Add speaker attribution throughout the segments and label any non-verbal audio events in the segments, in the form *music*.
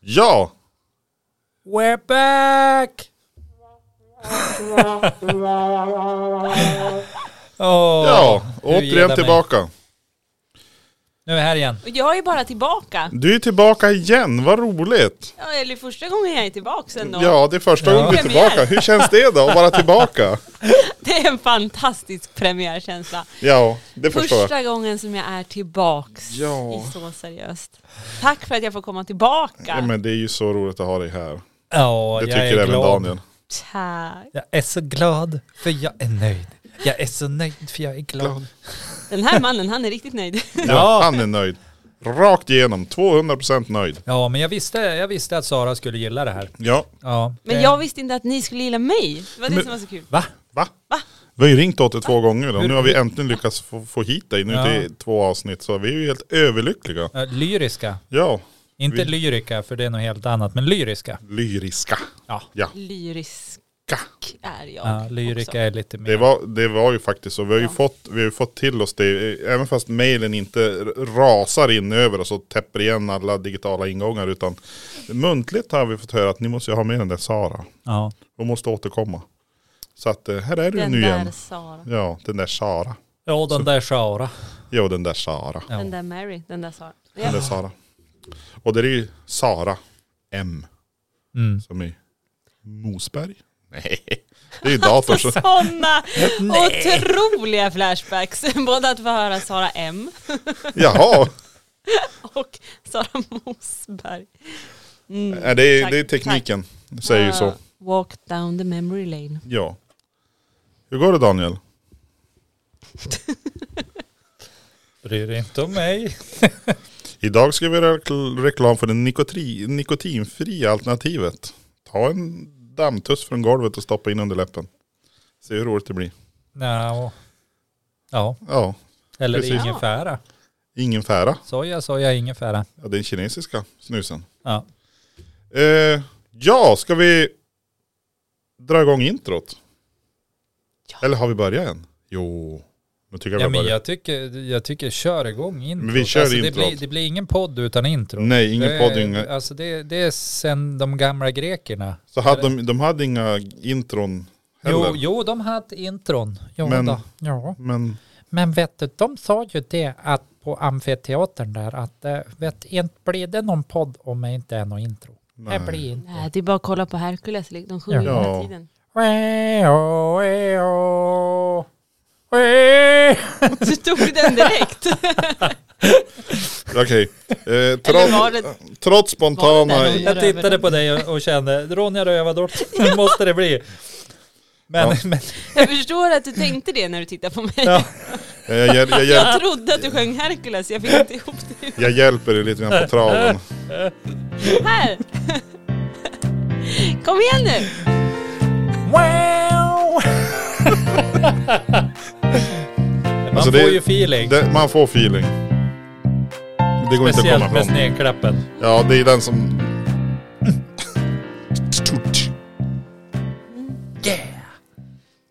Speaker 1: Ja!
Speaker 2: We're back! Åh,
Speaker 1: Ja!
Speaker 2: hur gillar
Speaker 1: Återigen
Speaker 2: mig.
Speaker 1: tillbaka.
Speaker 2: Nu är vi här igen.
Speaker 3: Och jag är bara tillbaka.
Speaker 1: Du är tillbaka igen, vad roligt!
Speaker 3: Ja, eller första gången jag är tillbaka sen då.
Speaker 1: Ja, det är första
Speaker 2: Ja.
Speaker 1: gången du är tillbaka.
Speaker 3: Premiär.
Speaker 1: Hur känns det då att vara tillbaka?
Speaker 3: Det är en fantastisk premiärkänsla.
Speaker 1: Ja, det förstår jag.
Speaker 3: Första gången som jag är tillbaks.
Speaker 1: Ja.
Speaker 3: Det är så seriöst. Tack för att jag får komma tillbaka.
Speaker 1: Ja, men det är ju så roligt att ha dig här.
Speaker 2: Ja,
Speaker 1: Det
Speaker 2: jag är
Speaker 1: tycker även
Speaker 2: glad.
Speaker 1: Daniel.
Speaker 3: Tack.
Speaker 2: Jag är så glad för jag är nöjd. Jag är så nöjd för jag är glad.
Speaker 3: Den här mannen, han är
Speaker 1: *laughs*
Speaker 3: riktigt nöjd.
Speaker 1: Ja, han är nöjd. Rakt igenom, 200% nöjd.
Speaker 2: Ja, men jag visste, jag visste att Sara skulle gilla det här.
Speaker 1: Ja,
Speaker 2: Ja,
Speaker 3: Men
Speaker 2: det-
Speaker 3: jag visste inte att ni skulle gilla mig. Det var det
Speaker 1: Men-
Speaker 3: som var så kul.
Speaker 2: Va?
Speaker 1: va? Vi har ju ringt åt dig två gånger och nu har vi äntligen lyckats få, få hit dig nu
Speaker 2: Ja.
Speaker 1: till två avsnitt så vi är ju helt överlyckliga.
Speaker 2: Ja, Lyriska.
Speaker 1: Ja,
Speaker 2: Inte
Speaker 1: Vi-
Speaker 2: lyrika, för det är något helt annat, men lyriska.
Speaker 1: lyriska.
Speaker 2: Ja.
Speaker 1: Ja.
Speaker 3: Lyrisk
Speaker 1: Ka.
Speaker 3: är jag.
Speaker 2: Ja, lyrika
Speaker 3: också.
Speaker 2: är lite mer...
Speaker 1: Det var, det var ju faktiskt så. Vi har ju
Speaker 3: Ja.
Speaker 1: fått, vi har ju fått till oss det. Även fast mejlen inte rasar in över oss och täpper igen alla digitala ingångar. Utan muntligt har vi fått höra att ni måste ju ha med den där Sara.
Speaker 2: Ja.
Speaker 1: Hon måste återkomma. Så att eh, här är du
Speaker 3: Den
Speaker 1: nu
Speaker 3: där
Speaker 1: igen.
Speaker 3: Sara.
Speaker 1: Ja, den där Sara.
Speaker 2: ja, den där Sara.
Speaker 1: Jo, den där Sara.
Speaker 2: Ja.
Speaker 3: Den där Mary, den där Sara.
Speaker 1: Den där
Speaker 3: Ja.
Speaker 1: Sara. Och det är ju Sara M.
Speaker 2: Mm.
Speaker 1: Som i Mosberg. Nej, det är ju datorn
Speaker 3: *laughs*
Speaker 1: som... *laughs*
Speaker 3: Sådana otroliga flashbacks. Både att få höra Sara M
Speaker 1: Jaha.
Speaker 3: *laughs* och Sara Mosberg. Mm.
Speaker 1: Nej, Det är,
Speaker 3: Tack,
Speaker 1: det är tekniken. Säger ju så.
Speaker 3: Uh, Walk down the memory lane.
Speaker 1: Ja. Hur går det Daniel?
Speaker 2: Bryr dig inte om mig.
Speaker 1: Idag ska vi göra rekl- reklam för det nikotri- nikotinfria alternativet. Ta en dammtuss från golvet och stoppa in under läppen. Se hur roligt det blir.
Speaker 2: Nja. Ja,
Speaker 1: Ja,
Speaker 2: eller
Speaker 1: Precis.
Speaker 2: ingefära.
Speaker 1: ingefära.
Speaker 2: Soja, soja, ingefära.
Speaker 1: Ja, den kinesiska snusen.
Speaker 2: Ja.
Speaker 1: Eh, ja, ska vi dra igång introt?
Speaker 3: Ja.
Speaker 1: Eller har vi börjat än? Jo, nu tycker jag vi
Speaker 2: Ja
Speaker 1: har
Speaker 2: men
Speaker 1: börjat.
Speaker 2: jag tycker, jag tycker kör igång introt. Alltså,
Speaker 1: Men vi kör
Speaker 2: det,
Speaker 1: introt.
Speaker 2: blir, det blir ingen podd utan intro.
Speaker 1: Nej, ingen
Speaker 2: det,
Speaker 1: podd, inga-
Speaker 2: Alltså det, det är sen de gamla grekerna.
Speaker 1: Så hade de, de hade inga intron heller.
Speaker 2: Jo, jo, de hade intron. Jo,
Speaker 1: Men-
Speaker 2: då. Ja.
Speaker 1: Men
Speaker 2: men vet du, de sa ju det att på amfiteatern där att eh, vet, inte blir det någon podd om det inte är någon intro.
Speaker 1: Nej.
Speaker 2: Det blir
Speaker 3: Nej,
Speaker 2: inte.
Speaker 3: det är bara att kolla på Hercules, de sjunger
Speaker 1: Ja.
Speaker 3: hela tiden. *laughs*
Speaker 2: Weo, weo, weo.
Speaker 3: Du tog
Speaker 1: *laughs*
Speaker 3: den direkt.
Speaker 1: okej.
Speaker 2: *laughs*
Speaker 1: Eh,
Speaker 3: Eller
Speaker 1: trots,
Speaker 3: var det...
Speaker 1: trots spontana...
Speaker 3: var det där
Speaker 2: Jag tittade på dig och, och kände, Ronja Rövardottir, nu måste det bli. Men,
Speaker 1: Ja.
Speaker 2: men
Speaker 3: Jag förstår att du tänkte det när du tittade på mig.
Speaker 2: Ja.
Speaker 1: Eh, Jag, hjäl- jag, hjäl-
Speaker 3: Jag trodde att du sjöng Hercules, jag fick inte ihop det.
Speaker 1: Jag hjälper dig lite grann på traven.
Speaker 3: Här! *laughs* Kom igen nu!
Speaker 1: *laughs*
Speaker 2: Wow! Man
Speaker 1: Alltså,
Speaker 2: får
Speaker 1: det-
Speaker 2: ju feeling.
Speaker 1: Det, man får feeling. Det går inte att
Speaker 2: speciellt
Speaker 1: komma
Speaker 2: med
Speaker 1: ifrån.
Speaker 2: snedklappen.
Speaker 1: Ja, det är den som...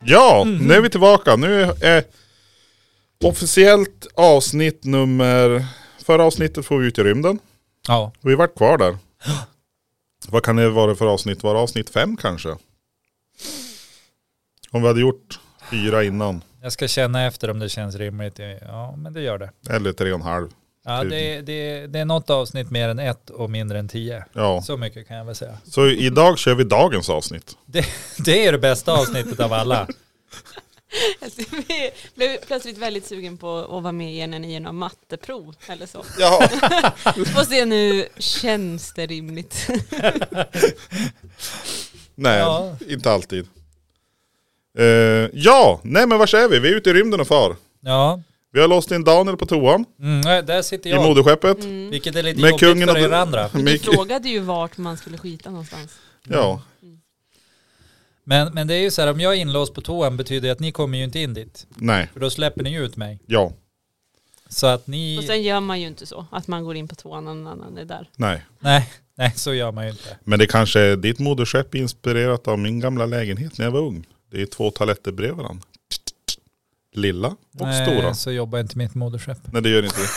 Speaker 1: Ja,
Speaker 2: Mhm.
Speaker 1: nu är vi tillbaka. Nu är officiellt avsnitt nummer... Förra avsnittet får vi ut i rymden.
Speaker 2: Ja,
Speaker 1: Vi har varit kvar där. Vad kan det vara för avsnitt? Var det avsnitt fem kanske? Om vi hade gjort fyra innan.
Speaker 2: jag ska känna efter om det känns rimligt. Ja, men det gör det.
Speaker 1: Eller tre och en halv.
Speaker 2: Ja, det, det, det är något avsnitt mer än ett och mindre än tio.
Speaker 1: Ja.
Speaker 2: Så mycket kan jag väl säga.
Speaker 1: Så idag kör vi dagens avsnitt.
Speaker 2: Det, *laughs* det är det bästa avsnittet av alla.
Speaker 3: Alltså, vi blev plötsligt väldigt sugen på att vara med igen när ni gör något matteprov eller så.
Speaker 1: Ja.
Speaker 3: Får se nu, känns det rimligt?
Speaker 1: Nej,
Speaker 2: Ja.
Speaker 1: inte alltid. Eh, ja, nej men var är vi? Vi är ute i rymden och far.
Speaker 2: Ja,
Speaker 1: Vi har låst in Daniel på toan
Speaker 2: mm, nej, där sitter
Speaker 1: i
Speaker 2: jag.
Speaker 1: moderskeppet.
Speaker 2: Vilket är lite
Speaker 1: Med
Speaker 2: jobbigt
Speaker 1: kungen
Speaker 2: för
Speaker 1: och-
Speaker 2: er andra.
Speaker 3: Du
Speaker 1: Mik-
Speaker 3: frågade ju vart man skulle skita någonstans.
Speaker 1: ja.
Speaker 2: Men, men det är ju så här, om jag är inlåst på toan betyder det att ni kommer ju inte in dit.
Speaker 1: Nej,
Speaker 2: För då släpper ni ju ut mig.
Speaker 1: ja,
Speaker 2: Så att
Speaker 3: Och
Speaker 2: ni...
Speaker 3: sen gör man ju inte så, att man går in på toan och någon annan är där.
Speaker 1: nej.
Speaker 2: Nej, nej, så gör man ju inte.
Speaker 1: Men det kanske är ditt moderskepp är inspirerat av min gamla lägenhet när jag var ung. Det är två toaletter bredvid varandra. Lilla och
Speaker 2: Nej,
Speaker 1: stora.
Speaker 2: så jobbar inte mitt moderskepp.
Speaker 1: Nej det gör inte det.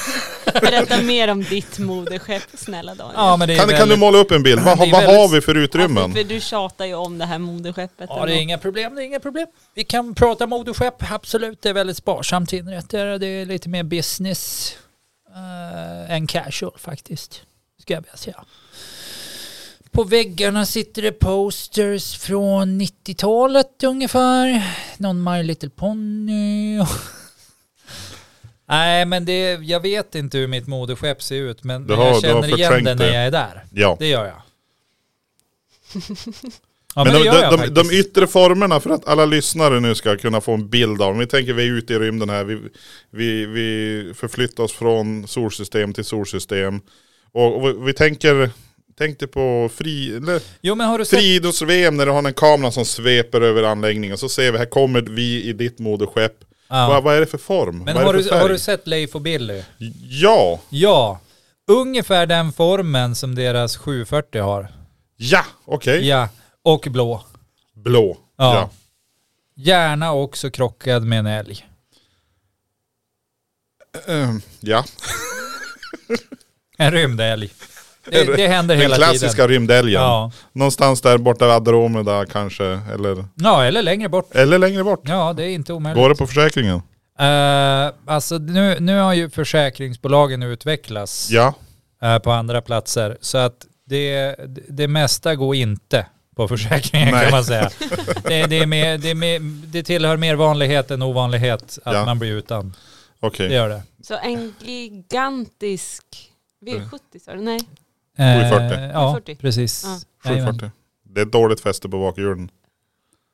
Speaker 2: *laughs*
Speaker 3: Berätta mer om ditt moderskepp, snälla Daniel.
Speaker 2: Ja, men det är
Speaker 1: Kan, kan du
Speaker 2: väldigt-
Speaker 1: måla upp en bild? Vad,
Speaker 2: Det är
Speaker 1: vad har
Speaker 2: väldigt-
Speaker 1: vi för utrymmen?
Speaker 3: Alltså, för du tjatar ju om det här moderskeppet.
Speaker 2: Ja, det är inga problem, det är inga problem. Vi kan prata moderskepp, absolut. Det är väldigt sparsamt inrätt. Det är- det är lite mer business eh, än casual faktiskt, ska jag vilja säga. På väggarna sitter det posters från 90-talet ungefär. Någon My Little Pony. och- *laughs* Nej, men det, jag vet inte hur mitt moderskepp ser ut, men,
Speaker 1: Du
Speaker 2: men
Speaker 1: har-
Speaker 2: jag
Speaker 1: du har
Speaker 2: känner igen
Speaker 1: förträngt
Speaker 2: det när
Speaker 1: det.
Speaker 2: jag är där.
Speaker 1: Ja.
Speaker 2: Det gör jag. *laughs* Ja, men,
Speaker 1: men
Speaker 2: det
Speaker 1: de,
Speaker 2: gör jag
Speaker 1: de, de,
Speaker 2: faktiskt.
Speaker 1: de yttre formerna för att alla lyssnare nu ska kunna få en bild av. Vi tänker vi är ute i rymden här. Vi, vi, vi förflyttar oss från solsystem till solsystem. Och, och vi- vi tänker, tänkte på fri, eller,
Speaker 2: Jo men har du sett
Speaker 1: friidrotts-VM när du har en kamera som sveper över anläggningen. Så ser vi, här kommer vi i ditt moderskepp.
Speaker 2: Ja.
Speaker 1: Vad, vad är det för form?
Speaker 2: Men
Speaker 1: vad
Speaker 2: har
Speaker 1: är det för
Speaker 2: du,
Speaker 1: färg?
Speaker 2: har du sett Leif och Billy?
Speaker 1: Ja,
Speaker 2: Ja, ungefär den formen som deras 740 har.
Speaker 1: ja, okej.
Speaker 2: Ja, och blå.
Speaker 1: Blå.
Speaker 2: Ja.
Speaker 1: Ja.
Speaker 2: Gärna också krockad med en älg.
Speaker 1: Ehm, ja. *laughs*
Speaker 2: En rymdälg. Det, det händer
Speaker 1: Den
Speaker 2: hela
Speaker 1: klassiska
Speaker 2: tiden.
Speaker 1: rymdälgen.
Speaker 2: Ja.
Speaker 1: Någonstans där borta vid Andromeda kanske, eller,
Speaker 2: ja, eller längre bort.
Speaker 1: eller längre bort.
Speaker 2: Ja, det är inte omöjligt.
Speaker 1: Går det på försäkringen?
Speaker 2: Eh, alltså nu, nu har ju försäkringsbolagen utvecklats
Speaker 1: Ja.
Speaker 2: eh, på andra platser. Så att det, det mesta går inte på försäkringen
Speaker 1: Nej.
Speaker 2: kan man säga. Det, det, är mer, det, är mer, det tillhör mer vanlighet än ovanlighet att
Speaker 1: Ja.
Speaker 2: man blir utan.
Speaker 1: Okej.
Speaker 2: Det gör det.
Speaker 3: Så en gigantisk
Speaker 2: Mm.
Speaker 3: V70 sa du? Nej.
Speaker 1: 740.
Speaker 2: Eh, ja,
Speaker 3: 740.
Speaker 2: precis.
Speaker 3: Ja.
Speaker 2: Jajamän.
Speaker 1: 740. Det är ett dåligt fäste på bakhjulen.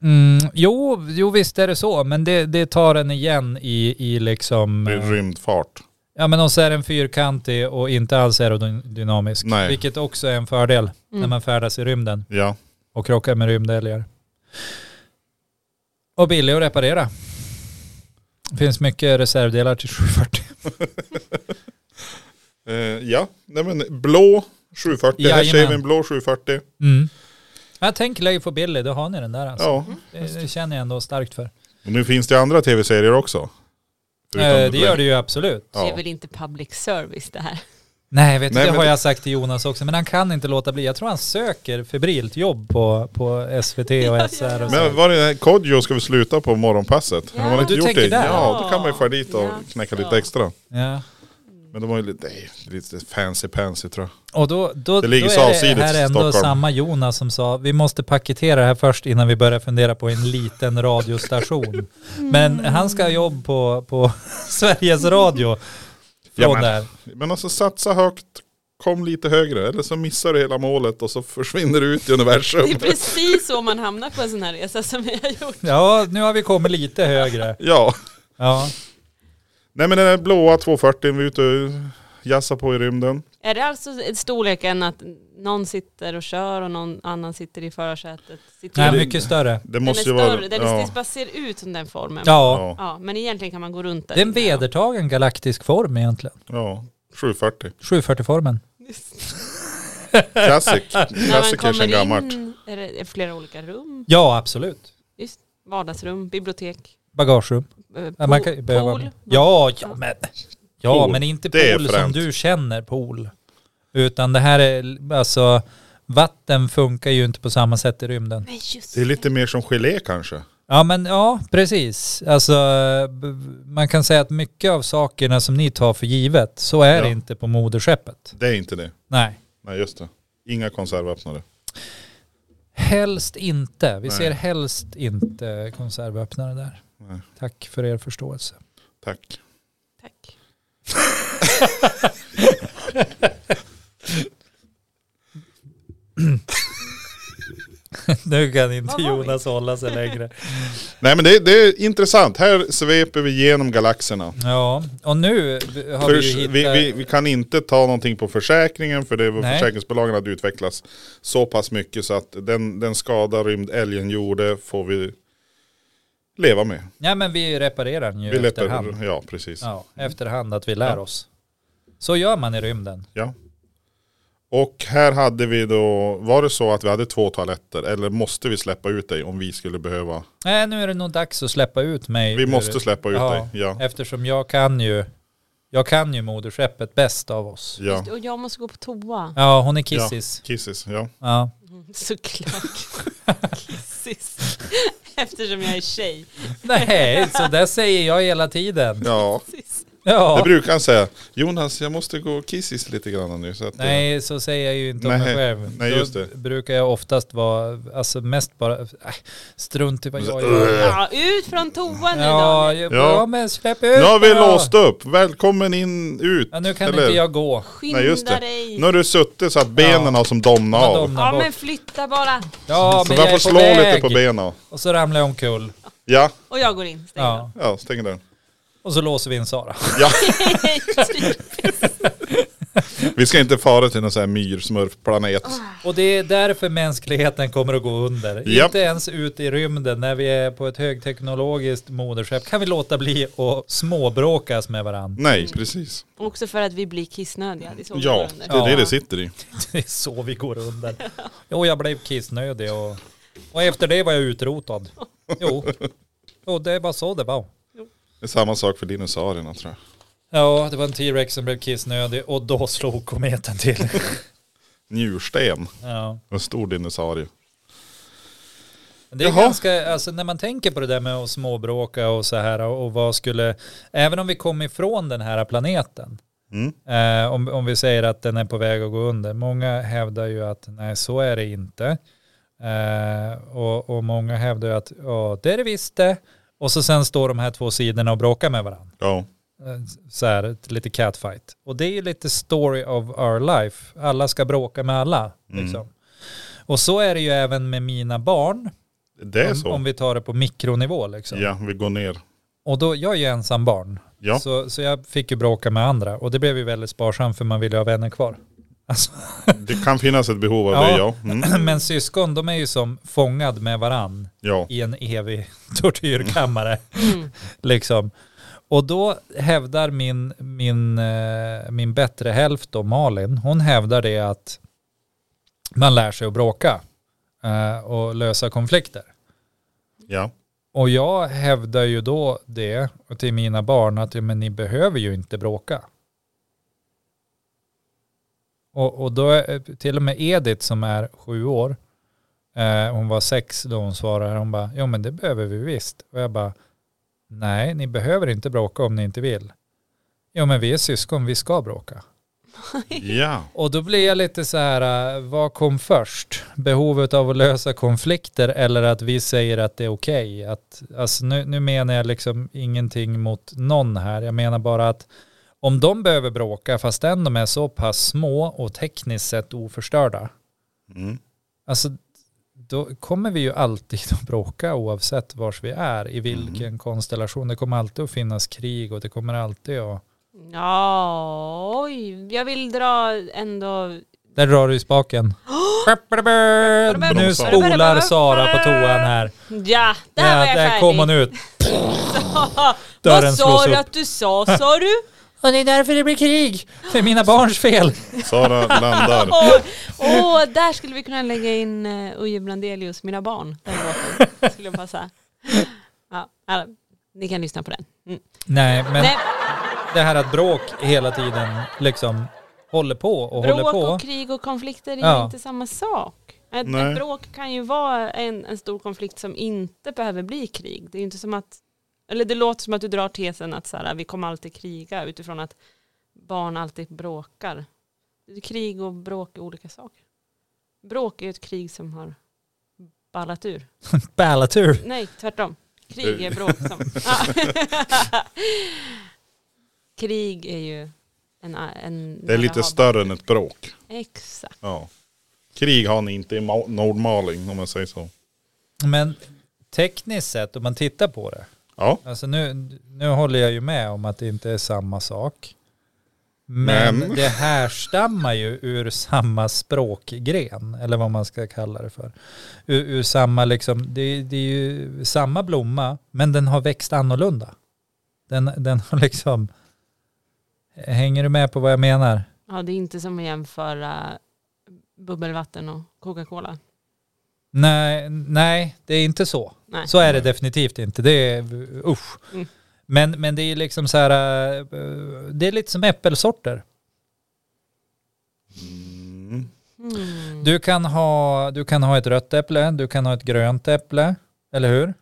Speaker 2: Mm, jo, jo, visst är det så, men det, det tar en igen i, i liksom...
Speaker 1: Det
Speaker 2: eh,
Speaker 1: är Rymdfart.
Speaker 2: Ja, men och så är den fyrkantig och inte alls aerodynamisk.
Speaker 1: Nej.
Speaker 2: Vilket också är en fördel när
Speaker 3: Mm.
Speaker 2: man färdas i rymden
Speaker 1: Ja.
Speaker 2: och krockar med rymdälgar. Och billig att reparera. Det finns mycket reservdelar till 740.
Speaker 1: Eh, ja, nej men blå 740. Här ser
Speaker 2: Jajamän.
Speaker 1: vi en blå 740.
Speaker 2: Mm. Jag tänker Leif och Billy, då har ni den där alltså.
Speaker 1: Ja.
Speaker 2: Det, det känner jag ändå starkt för.
Speaker 1: Och nu finns det andra tv-serier också. Förutom
Speaker 2: Eh, det gör det ju absolut.
Speaker 3: Det är
Speaker 1: Ja.
Speaker 3: väl inte public service
Speaker 2: *laughs*
Speaker 3: det här?
Speaker 2: Nej, vet du,
Speaker 1: Nej,
Speaker 2: det
Speaker 1: men
Speaker 2: har
Speaker 1: det-
Speaker 2: jag sagt till Jonas också, men han kan inte låta bli. Jag tror han söker febrilt jobb på, på SVT *laughs*
Speaker 3: ja,
Speaker 2: och SR och
Speaker 1: Men
Speaker 2: så.
Speaker 1: var det Kodjo ska vi sluta på morgonpasset?
Speaker 3: Ja.
Speaker 1: Har man inte
Speaker 2: Du
Speaker 1: gjort
Speaker 2: tänker
Speaker 1: det?
Speaker 2: där.
Speaker 1: Ja, då kan man ju fara dit och
Speaker 3: Ja.
Speaker 1: knäcka
Speaker 3: Ja.
Speaker 1: lite extra.
Speaker 2: Ja.
Speaker 1: Men de har ju lite, nej, lite fancy pansy tror jag.
Speaker 2: Och då, då,
Speaker 1: Det ligger
Speaker 2: då
Speaker 1: så
Speaker 2: är
Speaker 1: avsides
Speaker 2: det här
Speaker 1: i
Speaker 2: ändå
Speaker 1: Stockholm.
Speaker 2: samma Jonas som sa, vi måste paketera det här först innan vi börjar fundera på en liten radiostation. Men han ska ha jobb på, på *laughs* Sveriges Radio.
Speaker 1: Ja,
Speaker 2: Från
Speaker 1: men-
Speaker 2: där.
Speaker 1: Men alltså satsa högt, kom lite högre. Eller så missar du hela målet och så försvinner du ut i universum.
Speaker 3: Det är precis så man hamnar på en sån här resa som vi har gjort.
Speaker 2: Ja, nu har vi kommit lite högre.
Speaker 1: Ja.
Speaker 2: Ja.
Speaker 1: Nej men den där blåa 240 vi är ute och jassar på i rymden.
Speaker 3: Är det alltså storleken att någon sitter och kör och någon annan sitter i förarsätet? Sitter
Speaker 2: Nej,
Speaker 1: det-
Speaker 2: mycket större.
Speaker 1: Det
Speaker 3: den är
Speaker 1: måste ju
Speaker 3: större,
Speaker 1: vara...
Speaker 3: den
Speaker 1: Ja.
Speaker 3: bara ser ut som den formen.
Speaker 2: Ja,
Speaker 1: Ja.
Speaker 3: Ja, men egentligen kan man gå runt där.
Speaker 2: det är en
Speaker 3: inne, ja. *laughs*
Speaker 2: vedertagen galaktisk form egentligen.
Speaker 1: ja. 740.
Speaker 2: 740-formen.
Speaker 3: *laughs*
Speaker 1: Classic.
Speaker 3: När man
Speaker 1: Classic är
Speaker 3: kommer
Speaker 1: sedan gammalt.
Speaker 3: in är det är flera olika rum,
Speaker 2: Ja, absolut.
Speaker 3: just, vardagsrum, bibliotek,
Speaker 2: Bagagerum.
Speaker 3: eh,
Speaker 2: Ja,
Speaker 3: pool.
Speaker 2: man kan ju behöva...
Speaker 3: pool.
Speaker 2: Ja, ja men... Ja,
Speaker 1: Pool.
Speaker 2: men inte
Speaker 1: Det är
Speaker 2: pool som
Speaker 1: fränt.
Speaker 2: du känner pool. Utan det här är alltså... Vatten funkar ju inte på samma sätt i rymden.
Speaker 3: Men just
Speaker 1: Det är lite mer som gelé kanske.
Speaker 2: Ja men ja, precis. Alltså b- man kan säga att mycket av sakerna som ni tar för givet, så är
Speaker 1: Ja.
Speaker 2: det inte på moderskeppet.
Speaker 1: Det är inte det.
Speaker 2: Nej.
Speaker 1: Nej just det. Inga konservöppnare.
Speaker 2: Helst inte. Vi
Speaker 1: Nej.
Speaker 2: ser helst inte konservöppnare där.
Speaker 1: Nej.
Speaker 2: Tack för er förståelse. *laughs*
Speaker 1: Tack.
Speaker 3: tack.
Speaker 2: Nu kan inte
Speaker 3: Vad var vi?
Speaker 2: Jonas hålla sig
Speaker 3: *laughs*
Speaker 2: längre.
Speaker 1: Nej men det, det är intressant. Här sveper vi genom galaxerna.
Speaker 2: Ja, och nu har vi
Speaker 1: Förs-
Speaker 2: ju
Speaker 1: vi,
Speaker 2: hittat...
Speaker 1: vi, vi kan inte ta någonting på försäkringen för det var
Speaker 2: Nej.
Speaker 1: försäkringsbolagen hade utvecklats så pass mycket så att den, den skada rymdälgen gjorde får vi leva med.
Speaker 2: Ja men vi reparerar den ju
Speaker 1: vi lättar-
Speaker 2: efterhand.
Speaker 1: Ja, precis. Ja.
Speaker 2: Ja, efterhand att vi lär
Speaker 1: Ja.
Speaker 2: oss. Så gör man i rymden.
Speaker 1: Och här hade vi då, var det så att vi hade två toaletter eller måste vi släppa ut dig om vi skulle behöva?
Speaker 2: Nej nu är det nog dags att släppa ut mig.
Speaker 1: Vi
Speaker 2: ur-
Speaker 1: måste släppa ut
Speaker 2: Ja.
Speaker 1: dig. Ja.
Speaker 2: Eftersom jag kan ju, Jag kan ju moderskeppet bäst av oss.
Speaker 1: Ja,
Speaker 3: Just, och jag måste gå på toa.
Speaker 2: Ja, hon är kissis.
Speaker 1: Kissis, ja.
Speaker 2: Ja.
Speaker 3: Mm,
Speaker 2: *laughs*
Speaker 3: Såklart. Kissis. Eftersom jag är tjej.
Speaker 2: Nej, så där säger jag hela tiden.
Speaker 1: Ja,
Speaker 3: Precis.
Speaker 1: det
Speaker 2: Ja.
Speaker 1: brukar han säga. Jonas, jag måste gå och kissis lite grann nu. Så att, eh,
Speaker 2: Nej, så säger jag ju inte om
Speaker 1: Nej,
Speaker 2: mig själv.
Speaker 1: nej,
Speaker 2: Då
Speaker 1: just det.
Speaker 2: brukar jag oftast vara, alltså mest bara, äh, strunt i vad jag
Speaker 1: Så- Äh.
Speaker 2: gör.
Speaker 3: Ja, ut från toan nu
Speaker 2: Ja,
Speaker 3: Daniel.
Speaker 2: ja.
Speaker 1: Ja.
Speaker 2: ja men släpp ut
Speaker 1: Nu har vi
Speaker 2: mig då.
Speaker 1: låst upp. Välkommen in, ut.
Speaker 2: Ja, nu kan
Speaker 1: Eller-
Speaker 2: inte jag gå.
Speaker 3: Skynda
Speaker 1: Nej, just det.
Speaker 3: dig.
Speaker 1: Nu har du suttit så att benen har som domnat
Speaker 2: Ja,
Speaker 1: av.
Speaker 2: domnat.
Speaker 3: Ja men flytta bara.
Speaker 2: Ja,
Speaker 1: Så
Speaker 2: men
Speaker 1: man
Speaker 2: jag
Speaker 1: får
Speaker 2: är
Speaker 1: slå
Speaker 2: på väg.
Speaker 1: lite på benen.
Speaker 2: Och så ramlar jag omkull.
Speaker 1: Ja,
Speaker 3: Och jag går in. Stäng *laughs*
Speaker 2: Ja.
Speaker 1: ja, stänger den.
Speaker 2: Och så låser vi in Sara.
Speaker 1: Ja,
Speaker 3: dörren.
Speaker 1: vi ska inte fara till någon sån här myrsmurfplanet.
Speaker 2: Och det är därför mänskligheten kommer att gå under.
Speaker 1: Japp.
Speaker 2: Inte ens ut i rymden när vi är på ett högteknologiskt moderskepp kan vi låta bli att småbråkas med varandra.
Speaker 1: Nej, precis.
Speaker 3: Också för att vi blir kissnödiga. Det är så vi
Speaker 1: Ja,
Speaker 3: går under.
Speaker 1: det är det det sitter i.
Speaker 2: *laughs* Det är så vi går under. Jo, jag blev kissnödig och, och efter det var jag utrotad. Jo, och det var så det var.
Speaker 1: Det är samma sak för dinosaurierna tror jag.
Speaker 2: Ja, det var en T-rex som blev kissnödig och då slog kometen
Speaker 1: *laughs*
Speaker 2: till.
Speaker 1: Njursten,
Speaker 2: Ja.
Speaker 1: en stor dinosaurie.
Speaker 2: Men Det är
Speaker 1: Jaha.
Speaker 2: ganska, alltså när man tänker på det där med att småbråka och så här och och vad skulle, även om vi kom ifrån den här planeten,
Speaker 1: Mm.
Speaker 2: eh, om, om vi säger att den är på väg att gå under, många hävdar ju att nej så är det inte. Eh, och, och många hävdar ju att ja det är det visst det. Och så sen står de här två sidorna och bråkar med varandra.
Speaker 1: Ja,
Speaker 2: Eh, Så här, ett- lite catfight. Och det är ju lite story of our life. Alla ska bråka med alla.
Speaker 1: Mm.
Speaker 2: Liksom. Och så är det ju även med mina barn
Speaker 1: det är
Speaker 2: om, om
Speaker 1: så.
Speaker 2: vi tar det på mikronivå liksom.
Speaker 1: Ja, vi går ner.
Speaker 2: Och då, jag är ju ensam barn.
Speaker 1: Ja,
Speaker 2: Så, så jag fick ju bråka med andra och det blev ju väldigt sparsamt för man ville ha vänner kvar. *clears throat* Alltså,
Speaker 1: det kan finnas ett behov av
Speaker 2: Ja.
Speaker 1: det ja. Mm.
Speaker 2: men syskon de är ju som fångad med varann
Speaker 1: Ja,
Speaker 2: i en evig *laughs* tortyrkammare.
Speaker 3: Mm.
Speaker 2: *laughs* liksom. Och då hävdar min, min, eh, min bättre hälft då, Malin, hon hävdar det att man lär sig att bråka eh, och lösa konflikter.
Speaker 1: ja.
Speaker 2: Och jag hävdar ju då det till mina barn att ja, men ni behöver ju inte bråka. Och, och då är- till och med Edith som är sju år, eh, hon var sex då hon svarade, hon bara, ja men det behöver vi visst. Och jag bara, nej ni behöver inte bråka om ni inte vill. Jo men vi är syskon, vi ska bråka.
Speaker 1: Ja,
Speaker 2: Och då blir jag lite så här, eh, vad kom först? Behovet av att lösa konflikter eller att vi säger att det är okej? Att, alltså nu, nu menar jag liksom ingenting mot någon här. Jag menar bara att om de behöver bråka, fastän de är så pass små och tekniskt sett oförstörda,
Speaker 1: mm.
Speaker 2: alltså då kommer vi ju alltid att bråka oavsett vars vi är, i vilken konstellation. Det kommer alltid att finnas krig och det kommer alltid att...
Speaker 3: Ja, oj. Jag vill dra ändå
Speaker 2: Där drar du i
Speaker 3: *gasps*
Speaker 2: spaken. Nu spolar Sara på toan här.
Speaker 3: Ja, där var
Speaker 2: Ja,
Speaker 3: jag
Speaker 2: där
Speaker 3: färdig.
Speaker 2: kom hon ut. Dörren
Speaker 3: *laughs* Vad
Speaker 2: slås
Speaker 3: sa du
Speaker 2: upp.
Speaker 3: att du sa, sa
Speaker 2: *laughs*
Speaker 3: du?
Speaker 2: Och det är därför det blir krig. Det är mina barns fel.
Speaker 1: Sara landar.
Speaker 3: Åh, åh, där skulle vi kunna lägga in eh, Uje Blandelius, Mina barn. Den låten skulle passa. Ja, alla, ni kan lyssna på den. Mm.
Speaker 2: Nej, men
Speaker 3: Nej,
Speaker 2: det här att bråk hela tiden liksom håller på och håller
Speaker 3: bråk
Speaker 2: på.
Speaker 3: och krig och konflikter är ju
Speaker 2: Ja.
Speaker 3: inte samma sak. Ett,
Speaker 1: Nej.
Speaker 3: ett bråk kan ju vara en, en stor konflikt som inte behöver bli krig. Det är ju inte som att, eller det låter som att du drar tesen att så här, vi kommer alltid kriga utifrån att barn alltid bråkar. Krig och bråk är olika saker. Bråk är ju ett krig som har ballat ur.
Speaker 2: Ballatur.
Speaker 3: Nej, tvärtom. Krig
Speaker 1: Eh.
Speaker 3: är bråk som...
Speaker 1: *laughs*
Speaker 3: *laughs* Ah. Krig är ju en... en
Speaker 1: Det är lite större än ett bråk.
Speaker 3: Exakt.
Speaker 1: Ja. Krig har ni inte i Ma- Nordmaling om man säger så.
Speaker 2: Men tekniskt sett, om man tittar på det.
Speaker 1: Ja,
Speaker 2: Alltså nu, nu håller jag ju med om att det inte är samma sak. Men,
Speaker 1: Men.
Speaker 2: det härstammar ju ur samma språkgren, eller vad man ska kalla det för. Ur, ur samma, liksom, det, det är ju samma blomma, men den har växt annorlunda. Den, den har liksom, hänger du med på vad jag menar?
Speaker 3: Ja, det är inte som att jämföra bubbelvatten och Coca-Cola.
Speaker 2: Nej, nej det är inte så.
Speaker 3: Nej.
Speaker 2: Så är det definitivt inte. Det är usch.
Speaker 3: Mm.
Speaker 2: Men, men det är liksom så här, eh, det är lite som äppelsorter.
Speaker 1: Mm.
Speaker 3: Mm.
Speaker 2: Du kan, ha, du kan ha ett rött äpple, du kan ha ett grönt äpple, eller hur?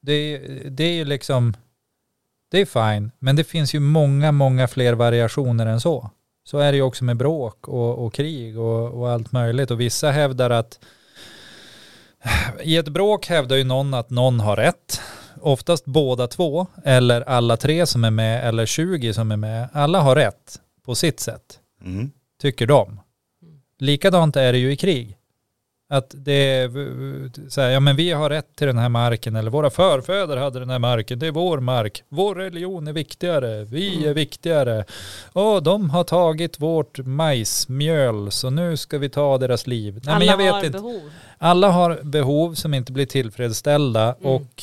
Speaker 2: Det, det är ju liksom, det är fine, men det finns ju många, många fler variationer än så. Så är det ju också med bråk och, och krig och, och allt möjligt. Och vissa hävdar att, i ett bråk hävdar ju någon att någon har rätt. Oftast båda två, eller alla tre som är med, eller 20 som är med. Alla har rätt på sitt sätt
Speaker 1: Mm.
Speaker 2: tycker de. Likadant är det ju i krig. Att det är så här, ja men vi har rätt till den här marken eller våra förfäder hade den här marken, det är vår mark, vår religion är viktigare,
Speaker 3: Mm.
Speaker 2: vi är viktigare. Och de har tagit vårt majsmjöl så nu ska vi ta deras liv. Nej,
Speaker 3: Alla
Speaker 2: men jag vet
Speaker 3: har
Speaker 2: inte.
Speaker 3: behov.
Speaker 2: Alla har behov som inte blir tillfredsställda
Speaker 3: Mm.
Speaker 2: och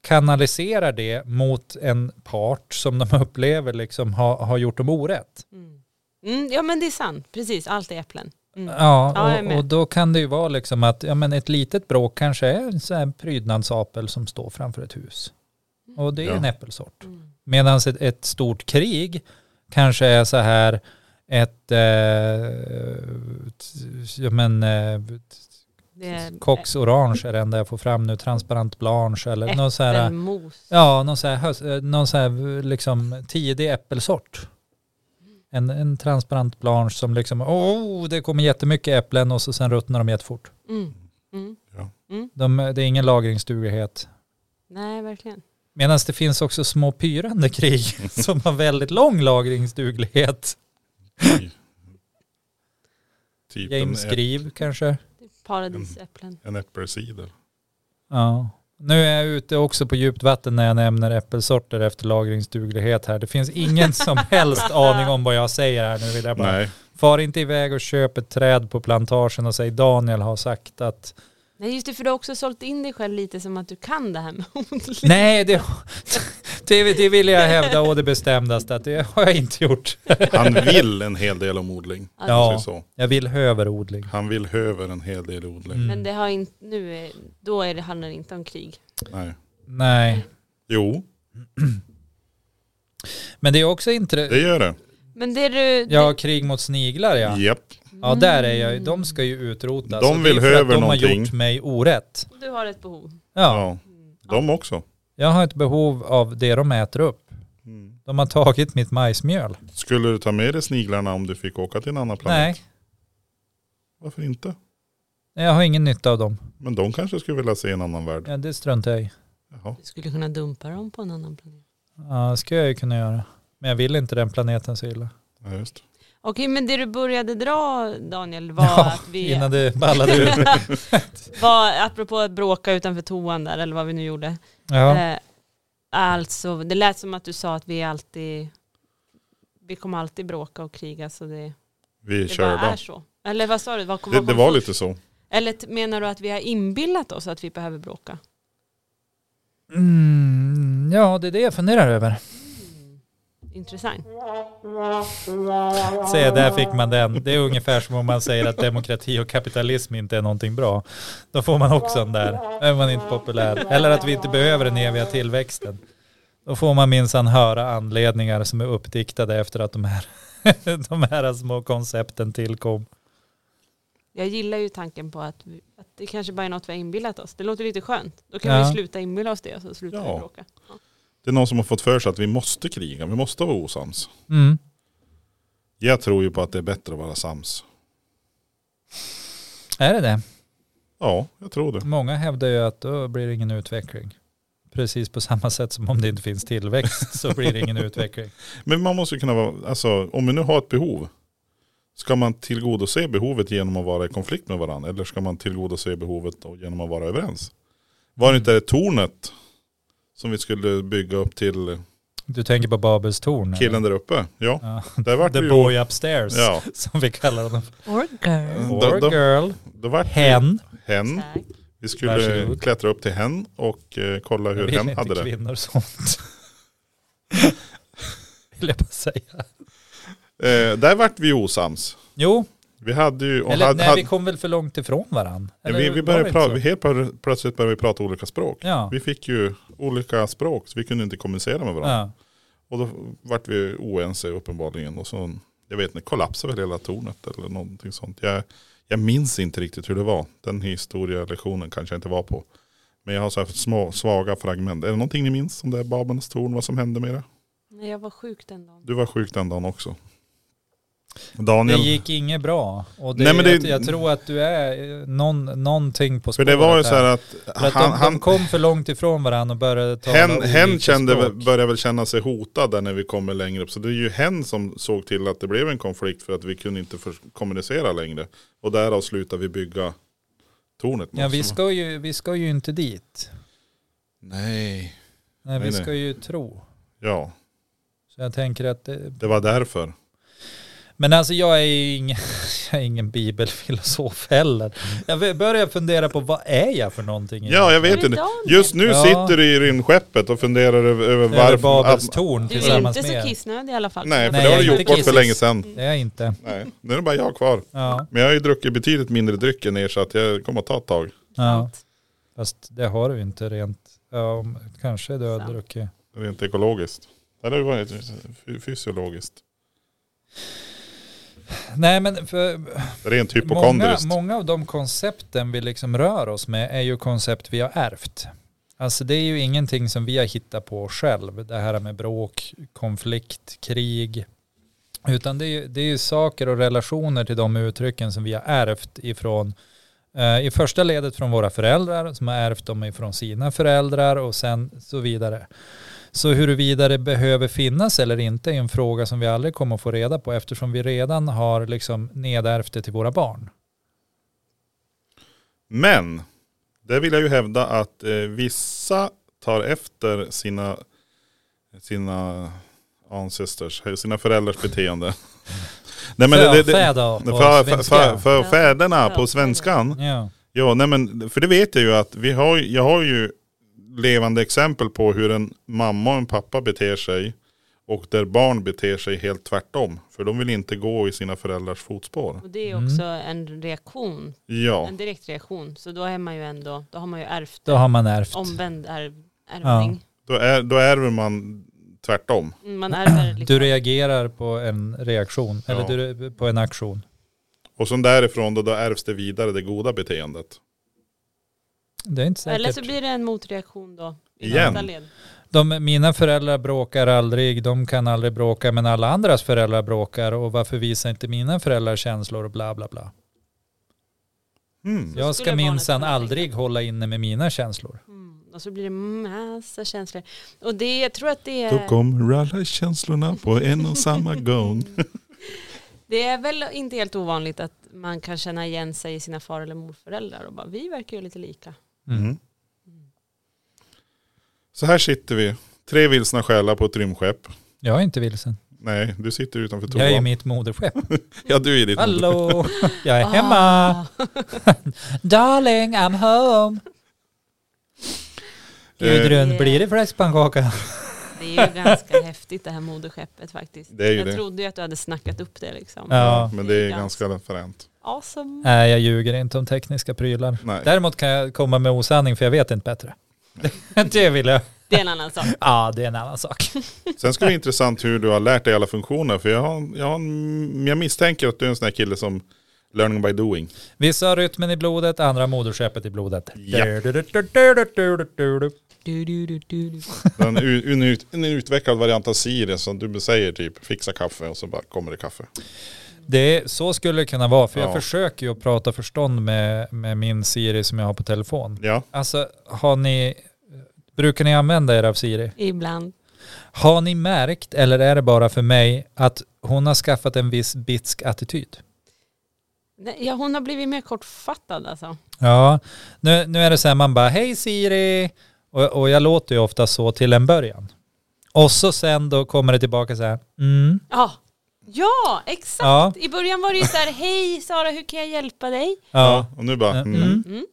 Speaker 2: kanaliserar det mot en part som de *laughs* upplever liksom har, har gjort dem orätt.
Speaker 3: Mm. Mm, ja men det är sant, precis, allt är äpplen. Mm. Ja, jag
Speaker 2: Ja,
Speaker 3: är
Speaker 2: och,
Speaker 3: med.
Speaker 2: och då kan det ju vara liksom att ja, men ett litet bråk kanske är en sån här prydnadsapel som står framför ett hus. Och det är
Speaker 1: Ja.
Speaker 2: en äppelsort.
Speaker 3: Mm.
Speaker 2: Medan ett, ett stort krig kanske är så här ett eh, t- ja, men, eh,
Speaker 3: Det är
Speaker 2: Cox Orange är det enda jag får fram nu, Transparent Blanche eller någon så här,
Speaker 3: äppelmos.
Speaker 2: ja, någon så här, höst- eh, någon så här liksom tidig äppelsort. En, en transparent blanche som liksom, oh, det kommer jättemycket äpplen och så sen ruttnar de jättefort.
Speaker 3: Mm. Mm.
Speaker 2: De, det är ingen lagringsduglighet.
Speaker 3: Nej, verkligen.
Speaker 2: Medan det finns också små pyrande krig *laughs* som har väldigt lång lagringsduglighet.
Speaker 1: Typ
Speaker 2: James
Speaker 1: en, äpp-
Speaker 2: Grieve kanske.
Speaker 3: Det är paradisäpplen.
Speaker 1: en äppelcider.
Speaker 2: Ja. Nu är jag ute också på djupt vatten när jag nämner äppelsorter efter lagringsduglighet här. Det finns
Speaker 1: *laughs*
Speaker 2: ingen som helst aning om vad jag säger här nu. Vill jag bara.
Speaker 1: Nej,
Speaker 2: Far inte iväg och köp ett träd på plantagen och säg Daniel har sagt att
Speaker 3: Nej just det, för du har också sålt in dig själv lite som att du kan det här med odling.
Speaker 2: nej det, det, det vill jag hävda och det bestämdaste att det har jag inte gjort.
Speaker 1: han vill en hel del om odling.
Speaker 3: Ja.
Speaker 1: om man
Speaker 2: Ja,
Speaker 1: säger Så.
Speaker 2: jag vill höverodling.
Speaker 1: Han vill höver en hel del odling.
Speaker 2: Mm.
Speaker 3: Men det har inte, nu är, då är det, handlar det inte om krig.
Speaker 1: Nej.
Speaker 2: Nej,
Speaker 1: Jo,
Speaker 2: men det är också inte
Speaker 1: det gör det.
Speaker 3: Men det du... det-
Speaker 2: Ja, krig mot sniglar ja.
Speaker 1: Japp.
Speaker 2: Ja, där är jag.
Speaker 3: Mm.
Speaker 2: De ska ju utrotas.
Speaker 1: De
Speaker 2: Och det är
Speaker 1: vill
Speaker 2: för att
Speaker 1: höver
Speaker 2: De har
Speaker 1: någonting.
Speaker 2: gjort mig orätt.
Speaker 3: Du har ett behov.
Speaker 2: Ja,
Speaker 1: Ja. De också.
Speaker 2: jag har ett behov av det de äter upp.
Speaker 1: Mm.
Speaker 2: De har tagit mitt majsmjöl.
Speaker 1: Skulle du ta med dig sniglarna om du fick åka till en annan planet?
Speaker 2: Nej,
Speaker 1: Varför inte?
Speaker 2: jag har ingen nytta av dem.
Speaker 1: Men de kanske skulle vilja se en annan värld.
Speaker 2: Ja, det struntar jag i.
Speaker 1: Jaha.
Speaker 3: Du skulle kunna dumpa dem på en annan planet.
Speaker 2: Ja, det ska jag ju kunna göra. Men jag vill inte den planeten så illa.
Speaker 1: Ja, just.
Speaker 3: Okej, men det du började dra Daniel var
Speaker 2: Ja,
Speaker 3: att vi...
Speaker 2: Innan det ballade ur.
Speaker 3: *laughs* var, apropå att bråka utanför toan där eller vad vi nu gjorde.
Speaker 2: Ja,
Speaker 3: Eh, alltså, det lät som att du sa att vi alltid... Vi kommer alltid bråka och kriga så det,
Speaker 1: Vi
Speaker 3: det bara
Speaker 1: körda.
Speaker 3: är så. Eller vad sa du? Vad kom,
Speaker 1: Det,
Speaker 3: vad
Speaker 1: det
Speaker 3: kom
Speaker 1: var
Speaker 3: först?
Speaker 1: lite så.
Speaker 3: Eller t- menar du att vi har inbillat oss att vi behöver bråka?
Speaker 2: mm, ja, det är det jag funderar över.
Speaker 3: Intressant.
Speaker 2: Se, där fick man den. Det är ungefär som om man säger att demokrati och kapitalism inte är någonting bra. Då får man också en där. Då är man inte populär. Eller att vi inte behöver den eviga tillväxten. Då får man minsann höra anledningar som är uppdiktade efter att de här, *laughs* de här små koncepten tillkom.
Speaker 3: Jag gillar ju tanken på att, vi, att det kanske bara är något vi har inbillat oss. Det låter lite skönt. Då kan
Speaker 2: Ja.
Speaker 3: vi sluta inbilla oss det och så slutar
Speaker 1: Ja.
Speaker 3: vi bråka.
Speaker 1: Det är någon som har fått för sig att vi måste kriga, vi måste vara osams.
Speaker 2: Mm.
Speaker 1: Jag tror ju på att det är bättre att vara sams.
Speaker 2: Är det det?
Speaker 1: Ja, jag tror det.
Speaker 2: Många hävdar ju att då blir det ingen utveckling. Precis på samma sätt som om det inte finns tillväxt så blir det ingen utveckling.
Speaker 1: Men man måste ju kunna vara, alltså om vi nu har ett behov, ska man tillgodose behovet genom att vara i konflikt med varandra? Eller ska man tillgodose behovet då genom att vara överens? Var det inte det tornet som vi skulle bygga upp till
Speaker 2: Du tänker på Babels torn? eller?
Speaker 1: killen där uppe? Ja,
Speaker 2: Ja.
Speaker 1: där vart
Speaker 2: The
Speaker 1: vi ju-
Speaker 2: boy upstairs,
Speaker 1: Ja,
Speaker 2: *laughs* som vi kallar honom.
Speaker 3: Or girl.
Speaker 1: då-
Speaker 2: Or
Speaker 1: då-
Speaker 2: girl,
Speaker 1: då vart vi
Speaker 2: hen.
Speaker 1: hen. Vi skulle
Speaker 2: Varsågod.
Speaker 1: klättra upp till hen och eh, kolla
Speaker 2: Jag
Speaker 1: hur
Speaker 2: vill
Speaker 1: hen
Speaker 2: inte
Speaker 1: hade det. *laughs*
Speaker 2: kvinnor sånt. vill jag bara säga.
Speaker 1: Eh, där vart vi ju osams.
Speaker 2: Jo,
Speaker 1: Vi hade ju... Och
Speaker 2: eller
Speaker 1: hade,
Speaker 2: nej, vi
Speaker 1: hade,
Speaker 2: kom väl för långt ifrån varandra.
Speaker 1: vi, vi började prata, helt plö- plötsligt började vi prata olika språk.
Speaker 2: Ja,
Speaker 1: Vi fick ju olika språk så vi kunde inte kommunicera med varandra.
Speaker 2: Ja.
Speaker 1: Och då vart vi oense uppenbarligen. Och så, jag vet inte, kollapsade väl hela tornet eller någonting sånt. Jag, jag minns inte riktigt hur det var. Den historielektionen kanske jag inte var på. Men jag har så här små, svaga fragment. Är det någonting ni minns om det här Babelns torn? Vad som hände med det?
Speaker 3: Nej, jag var sjuk den dagen.
Speaker 1: Du var sjuk den dagen också.
Speaker 2: Det
Speaker 1: Daniel,
Speaker 2: gick inget bra. Och det,
Speaker 1: Nej, men det-
Speaker 2: jag, jag tror att du är eh, någon, någonting på
Speaker 1: för
Speaker 2: spåret.
Speaker 1: det var ju
Speaker 2: här.
Speaker 1: så här att
Speaker 2: För att
Speaker 1: han,
Speaker 2: de,
Speaker 1: han,
Speaker 2: de kom för långt ifrån varandra och började tala
Speaker 1: Hen,
Speaker 2: olika
Speaker 1: hen kände, väl-
Speaker 2: språk.
Speaker 1: började väl känna sig hotad där när vi kommer längre upp. Så det är ju hen som såg till att det blev en konflikt för att vi kunde inte för, kommunicera längre. Och därav slutade vi bygga tornet.
Speaker 2: Ja, vi
Speaker 1: Så-
Speaker 2: ska, ju, vi ska ju inte dit.
Speaker 1: Nej.
Speaker 2: Nej,
Speaker 1: Nej,
Speaker 2: vi
Speaker 1: nej.
Speaker 2: ska ju tro.
Speaker 1: Ja,
Speaker 2: Så jag tänker att det,
Speaker 1: det var därför.
Speaker 2: Men alltså jag är ju ingen, *laughs* jag är ingen bibelfilosof heller. Jag börjar fundera på vad är jag för någonting?
Speaker 1: Ja, jag
Speaker 3: Var
Speaker 1: vet
Speaker 3: det
Speaker 1: inte.
Speaker 3: Daniel?
Speaker 1: Just nu
Speaker 2: Ja.
Speaker 1: sitter du i rymdskeppet och funderar över, över
Speaker 2: det är
Speaker 1: varför.
Speaker 2: Babels
Speaker 1: Att,
Speaker 2: torn
Speaker 3: Du är
Speaker 2: tillsammans
Speaker 3: inte så
Speaker 2: med.
Speaker 3: kissnödig i alla fall.
Speaker 1: nej, för
Speaker 2: Nej,
Speaker 1: det har
Speaker 2: jag
Speaker 1: du
Speaker 2: är
Speaker 1: gjort
Speaker 2: inte
Speaker 1: bort för
Speaker 2: kissig.
Speaker 1: länge sedan.
Speaker 2: Det är jag inte.
Speaker 1: Nej, nu är det bara jag kvar.
Speaker 2: Ja,
Speaker 1: Men jag har ju druckit betydligt mindre dryck än er så att jag kommer att ta ett tag.
Speaker 2: ja. Fast det har du inte rent. Ja, om- kanske du har
Speaker 3: Sant.
Speaker 2: druckit.
Speaker 1: Rent ekologiskt. Eller det var ju fy- fysiologiskt.
Speaker 2: Nej men för
Speaker 1: Rent
Speaker 2: många,
Speaker 1: hypokondriskt.
Speaker 2: många av de koncepten vi liksom rör oss med är ju koncept vi har ärvt. Alltså det är ju ingenting som vi har hittat på själv. Det här med bråk, konflikt, krig. Utan det är, ju- det är ju saker och relationer till de uttrycken som vi har ärvt ifrån eh, i första ledet från våra föräldrar som har ärvt dem ifrån sina föräldrar och sen så vidare. Så huruvida det behöver finnas eller inte är en fråga som vi aldrig kommer att få reda på eftersom vi redan har liksom nedärvt det till våra barn.
Speaker 1: Men, där vill jag ju hävda att eh, vissa tar efter sina, sina ancestors, eh, sina föräldrars beteende. *laughs* nej, men det, det, det,
Speaker 2: Förfäder på
Speaker 1: för, för,
Speaker 2: svenska.
Speaker 1: för, för fäderna
Speaker 3: Ja.
Speaker 1: på svenskan.
Speaker 2: Ja.
Speaker 1: Ja, nej men, för det vet jag ju att vi har, ju- jag har ju levande exempel på hur en mamma och en pappa beter sig och där barn beter sig helt tvärtom. För de vill inte gå i sina föräldrars fotspår.
Speaker 3: Och det är
Speaker 2: Mm.
Speaker 3: också en reaktion,
Speaker 1: Ja.
Speaker 3: en direkt reaktion. Så då är man ju ändå, då har man ju ärvt
Speaker 2: Då har man ärvt.
Speaker 3: omvänd ärv, ärvning.
Speaker 1: Då, är, då ärver man tvärtom.
Speaker 3: Mm,
Speaker 2: *clears throat*
Speaker 3: Man ärver liksom.
Speaker 2: Du reagerar på en reaktion,
Speaker 1: Ja.
Speaker 2: eller du, på en aktion.
Speaker 1: Och sen därifrån då, då ärvs det vidare det goda beteendet.
Speaker 2: Det är inte säkert.
Speaker 3: Eller så blir det en motreaktion då. I
Speaker 1: Igen.
Speaker 3: nästa led.
Speaker 2: De, mina föräldrar bråkar aldrig, de kan aldrig bråka, men alla andras föräldrar bråkar och varför visar inte mina föräldrar känslor och bla bla bla.
Speaker 1: Mm.
Speaker 2: Jag
Speaker 3: skulle
Speaker 2: ska
Speaker 3: barnet
Speaker 2: minsann
Speaker 3: kunna tänka.
Speaker 2: aldrig hålla inne med mina känslor.
Speaker 3: Mm. Och så blir det massa känslor. Och det, jag tror att det
Speaker 1: Då
Speaker 3: är,
Speaker 1: kommer alla känslorna på en och samma gång.
Speaker 3: det är väl inte helt ovanligt att man kan känna igen sig i sina far eller morföräldrar och bara vi verkar ju lite lika.
Speaker 1: *laughs* Mm. Så här sitter vi, tre vilsna själar på ett rymdskepp.
Speaker 2: Jag är inte vilsen.
Speaker 1: Nej, du sitter utanför
Speaker 2: Jag är i
Speaker 1: toan.
Speaker 2: mitt moderskepp.
Speaker 1: Ja, du är i ditt *laughs*
Speaker 2: Hallå, jag
Speaker 3: Ah.
Speaker 2: är hemma. Darling, I'm home. Gudrun,
Speaker 3: Eh.
Speaker 2: blir det fläskpannkaka?
Speaker 3: Det är ju ganska *laughs* häftigt det här moderskeppet faktiskt.
Speaker 1: Det är ju
Speaker 3: jag
Speaker 1: det.
Speaker 3: trodde ju att du hade snackat upp det liksom.
Speaker 2: Ja.
Speaker 1: Ja, men det är
Speaker 3: Ja.
Speaker 1: ganska fränt.
Speaker 3: Awesome.
Speaker 2: Nej, jag ljuger inte om tekniska prylar.
Speaker 1: Nej.
Speaker 2: Däremot kan jag komma med osanning för jag vet inte bättre. *laughs* Det vill jag.
Speaker 3: Det är en annan sak.
Speaker 2: Ja, det är en
Speaker 1: *laughs*
Speaker 2: annan sak.
Speaker 1: Sen ska det vara intressant hur du har lärt dig alla funktioner. För jag, har, jag, har en, jag misstänker att du är en sån här kille som learning by doing.
Speaker 2: Vissa har rytmen i blodet, andra moderskeppet i blodet.
Speaker 1: Ja.
Speaker 3: *laughs* Du, du, du, du, du.
Speaker 1: En, u- en, ut, en utvecklad variant av Siri som du säger typ fixa kaffe och så bara kommer det kaffe.
Speaker 2: Det är, så skulle det kunna vara, för jag
Speaker 1: Ja.
Speaker 2: försöker ju att prata förstånd med, med min Siri som jag har på telefon.
Speaker 1: Ja,
Speaker 2: Alltså, har ni, brukar ni använda er av Siri?
Speaker 3: Ibland.
Speaker 2: Har ni märkt, eller är det bara för mig, att hon har skaffat en viss bitsk attityd?
Speaker 3: Nej, ja, hon har blivit mer kortfattad alltså.
Speaker 2: Ja, nu, nu är det så här, man bara hej Siri, och, och jag låter ju ofta så till en början. Och så sen då kommer det tillbaka så här, mm,
Speaker 3: Ja, ja exakt.
Speaker 2: ja,
Speaker 3: I början var det ju så här, hej Sara hur kan jag hjälpa dig?
Speaker 2: ja.
Speaker 1: och nu bara mm.
Speaker 2: Mm.
Speaker 3: Mm.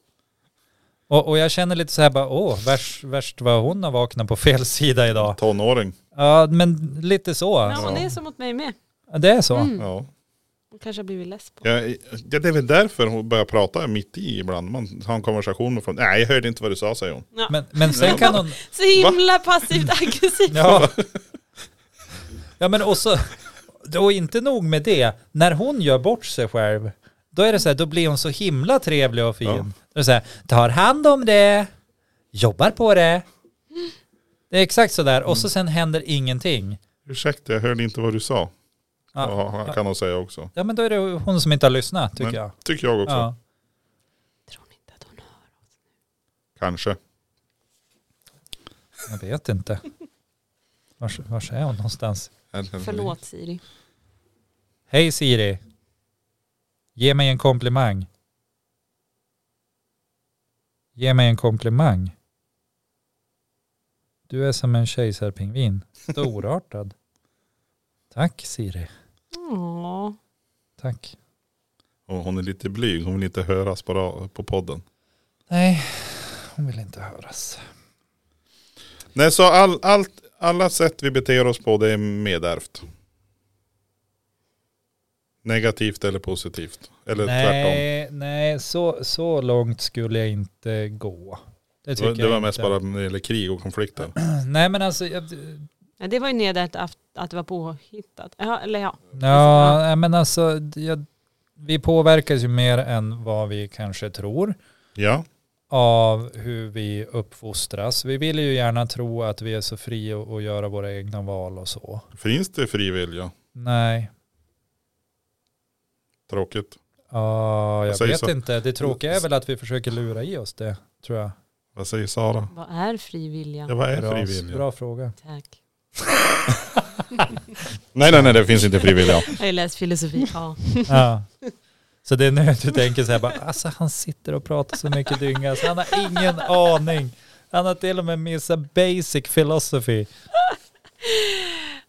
Speaker 2: Och, och jag känner lite så här bara, åh, värst, värst vad hon har vaknat på fel *laughs* sida idag.
Speaker 1: tonåring.
Speaker 2: Ja, men lite så.
Speaker 3: Ja,
Speaker 2: Alltså.
Speaker 3: hon är så mot mig med.
Speaker 2: Det är så.
Speaker 3: Mm.
Speaker 1: Ja.
Speaker 3: Hon kanske har blivit less på.
Speaker 1: Ja, ja, det är väl därför hon börjar prata mitt i ibland. Man har en konversation med folk. Nej, jag hörde inte vad du sa, säger hon.
Speaker 3: Ja.
Speaker 2: Men, men sen kan hon...
Speaker 3: Så himla passivt *laughs* aggressivt.
Speaker 2: Ja. ja men också, och inte nog med det, när hon gör bort sig själv, då är det så här, då blir hon så himla trevlig och fin.
Speaker 1: Ja.
Speaker 2: Då är det så här, tar hand om det, jobbar på det. Det är exakt så där och
Speaker 1: Mm.
Speaker 2: så sen händer ingenting.
Speaker 1: Ursäkta, jag hörde inte vad du sa.
Speaker 2: Ja.
Speaker 1: Ja, kan hon säga också.
Speaker 2: ja men då är det hon som inte har lyssnat tycker
Speaker 1: Men-
Speaker 2: jag.
Speaker 1: Tycker jag också.
Speaker 2: Ja.
Speaker 3: Tror ni inte att hon hör?
Speaker 1: Kanske.
Speaker 2: Jag vet inte. Vars, vars är hon någonstans?
Speaker 3: Förlåt Siri.
Speaker 2: Hej Siri. Ge mig en komplimang. Ge mig en komplimang. Du är som en kejsarpingvin. Storartad. Tack Siri.
Speaker 3: Ja.
Speaker 2: Tack.
Speaker 1: Och hon är lite blyg, hon vill inte höras på, ra- på podden.
Speaker 2: Nej, hon vill inte höras.
Speaker 1: Nej, så all, allt, alla sätt vi beter oss på det är medärvt. Negativt eller positivt. Eller tvärtom.
Speaker 2: Nej, nej så, så långt skulle jag inte gå. Det
Speaker 1: Det var,
Speaker 2: tycker
Speaker 1: det var
Speaker 2: jag
Speaker 1: mest
Speaker 2: inte.
Speaker 1: bara när det gäller krig och konflikter.
Speaker 2: Nej men alltså, jag,
Speaker 3: Ja, det var ju nedärt att, att det var påhittat. Ja, eller ja.
Speaker 2: ja, nej, men alltså, jag, vi påverkas ju mer än vad vi kanske tror.
Speaker 1: Ja,
Speaker 2: av hur vi uppfostras. Vi vill ju gärna tro att vi är så fria och och göra våra egna val och så.
Speaker 1: finns det fri vilja?
Speaker 2: Nej,
Speaker 1: Tråkigt.
Speaker 2: Ja,
Speaker 1: Jag
Speaker 2: jag
Speaker 1: säger
Speaker 2: vet
Speaker 1: så.
Speaker 2: inte. Det tråkiga är väl att vi försöker lura i oss det, tror jag.
Speaker 1: Vad säger Sara?
Speaker 3: Vad är fri vilja?
Speaker 1: Ja, vad är
Speaker 2: Bra,
Speaker 1: fri vilja?
Speaker 2: bra fråga.
Speaker 3: Tack.
Speaker 1: Nej, nej, nej, det finns inte fri vilja.
Speaker 3: Jag har ju läst *laughs* filosofi. Ja.
Speaker 2: Ja. Så det är nu du tänker så här, bara, alltså han sitter och pratar så mycket dynga så han har ingen aning. Han har till och med missat basic philosophy.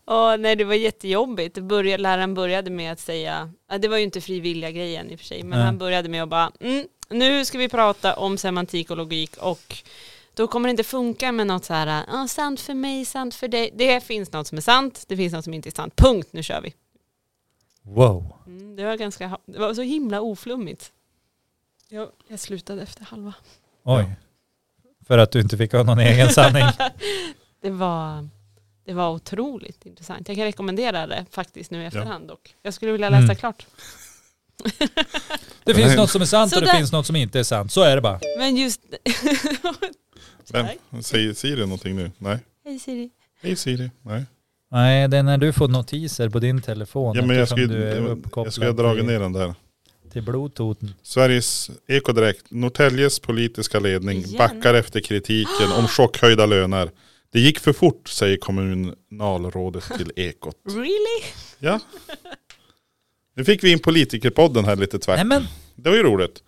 Speaker 3: Åh, nej, det var jättejobbigt. Det började, läraren började med att säga, ja, det var ju inte fri vilja grejen i och för sig, men
Speaker 2: Nej.
Speaker 3: han började med att bara, mm, nu ska vi prata om semantik och logik och då kommer det inte funka med något så här, ja, sant för mig, sant för dig. Det finns något som är sant, det finns något som inte är sant. Punkt, nu kör vi.
Speaker 2: Wow.
Speaker 3: Mm, det, var ganska, det var så himla oflummigt. Jag, jag slutade efter halva.
Speaker 2: Oj. För att du inte fick ha någon egen sanning.
Speaker 3: Det var, det var otroligt intressant. Jag kan rekommendera det faktiskt nu i efterhand dock. Jag skulle vilja läsa
Speaker 2: Mm.
Speaker 3: klart.
Speaker 2: Det finns något som är sant och det
Speaker 3: Sådär.
Speaker 2: finns något som inte är sant. Så är det bara.
Speaker 3: Men just... *laughs* Tack.
Speaker 1: Men, säger Siri någonting nu? Nej.
Speaker 3: Hej Siri.
Speaker 1: Hej Siri. Nej.
Speaker 2: Nej, det är när du får notiser på din telefon.
Speaker 1: Ja, men jag
Speaker 2: eftersom
Speaker 1: skulle,
Speaker 2: du är
Speaker 1: jag,
Speaker 2: uppkopplad
Speaker 1: jag skulle ha dragit
Speaker 2: till-
Speaker 1: ner den där.
Speaker 2: till bluetoothen.
Speaker 1: Sveriges Ekodirekt, Norrtäljes politiska ledning
Speaker 3: Igen?
Speaker 1: backar efter kritiken om chockhöjda löner. Det gick för fort, säger kommunalrådet till
Speaker 3: *laughs*
Speaker 1: Ekot.
Speaker 3: Really?
Speaker 1: Ja. Nu fick vi in politikerpodden här lite tvärt.
Speaker 2: Nej men,
Speaker 1: Det var ju roligt.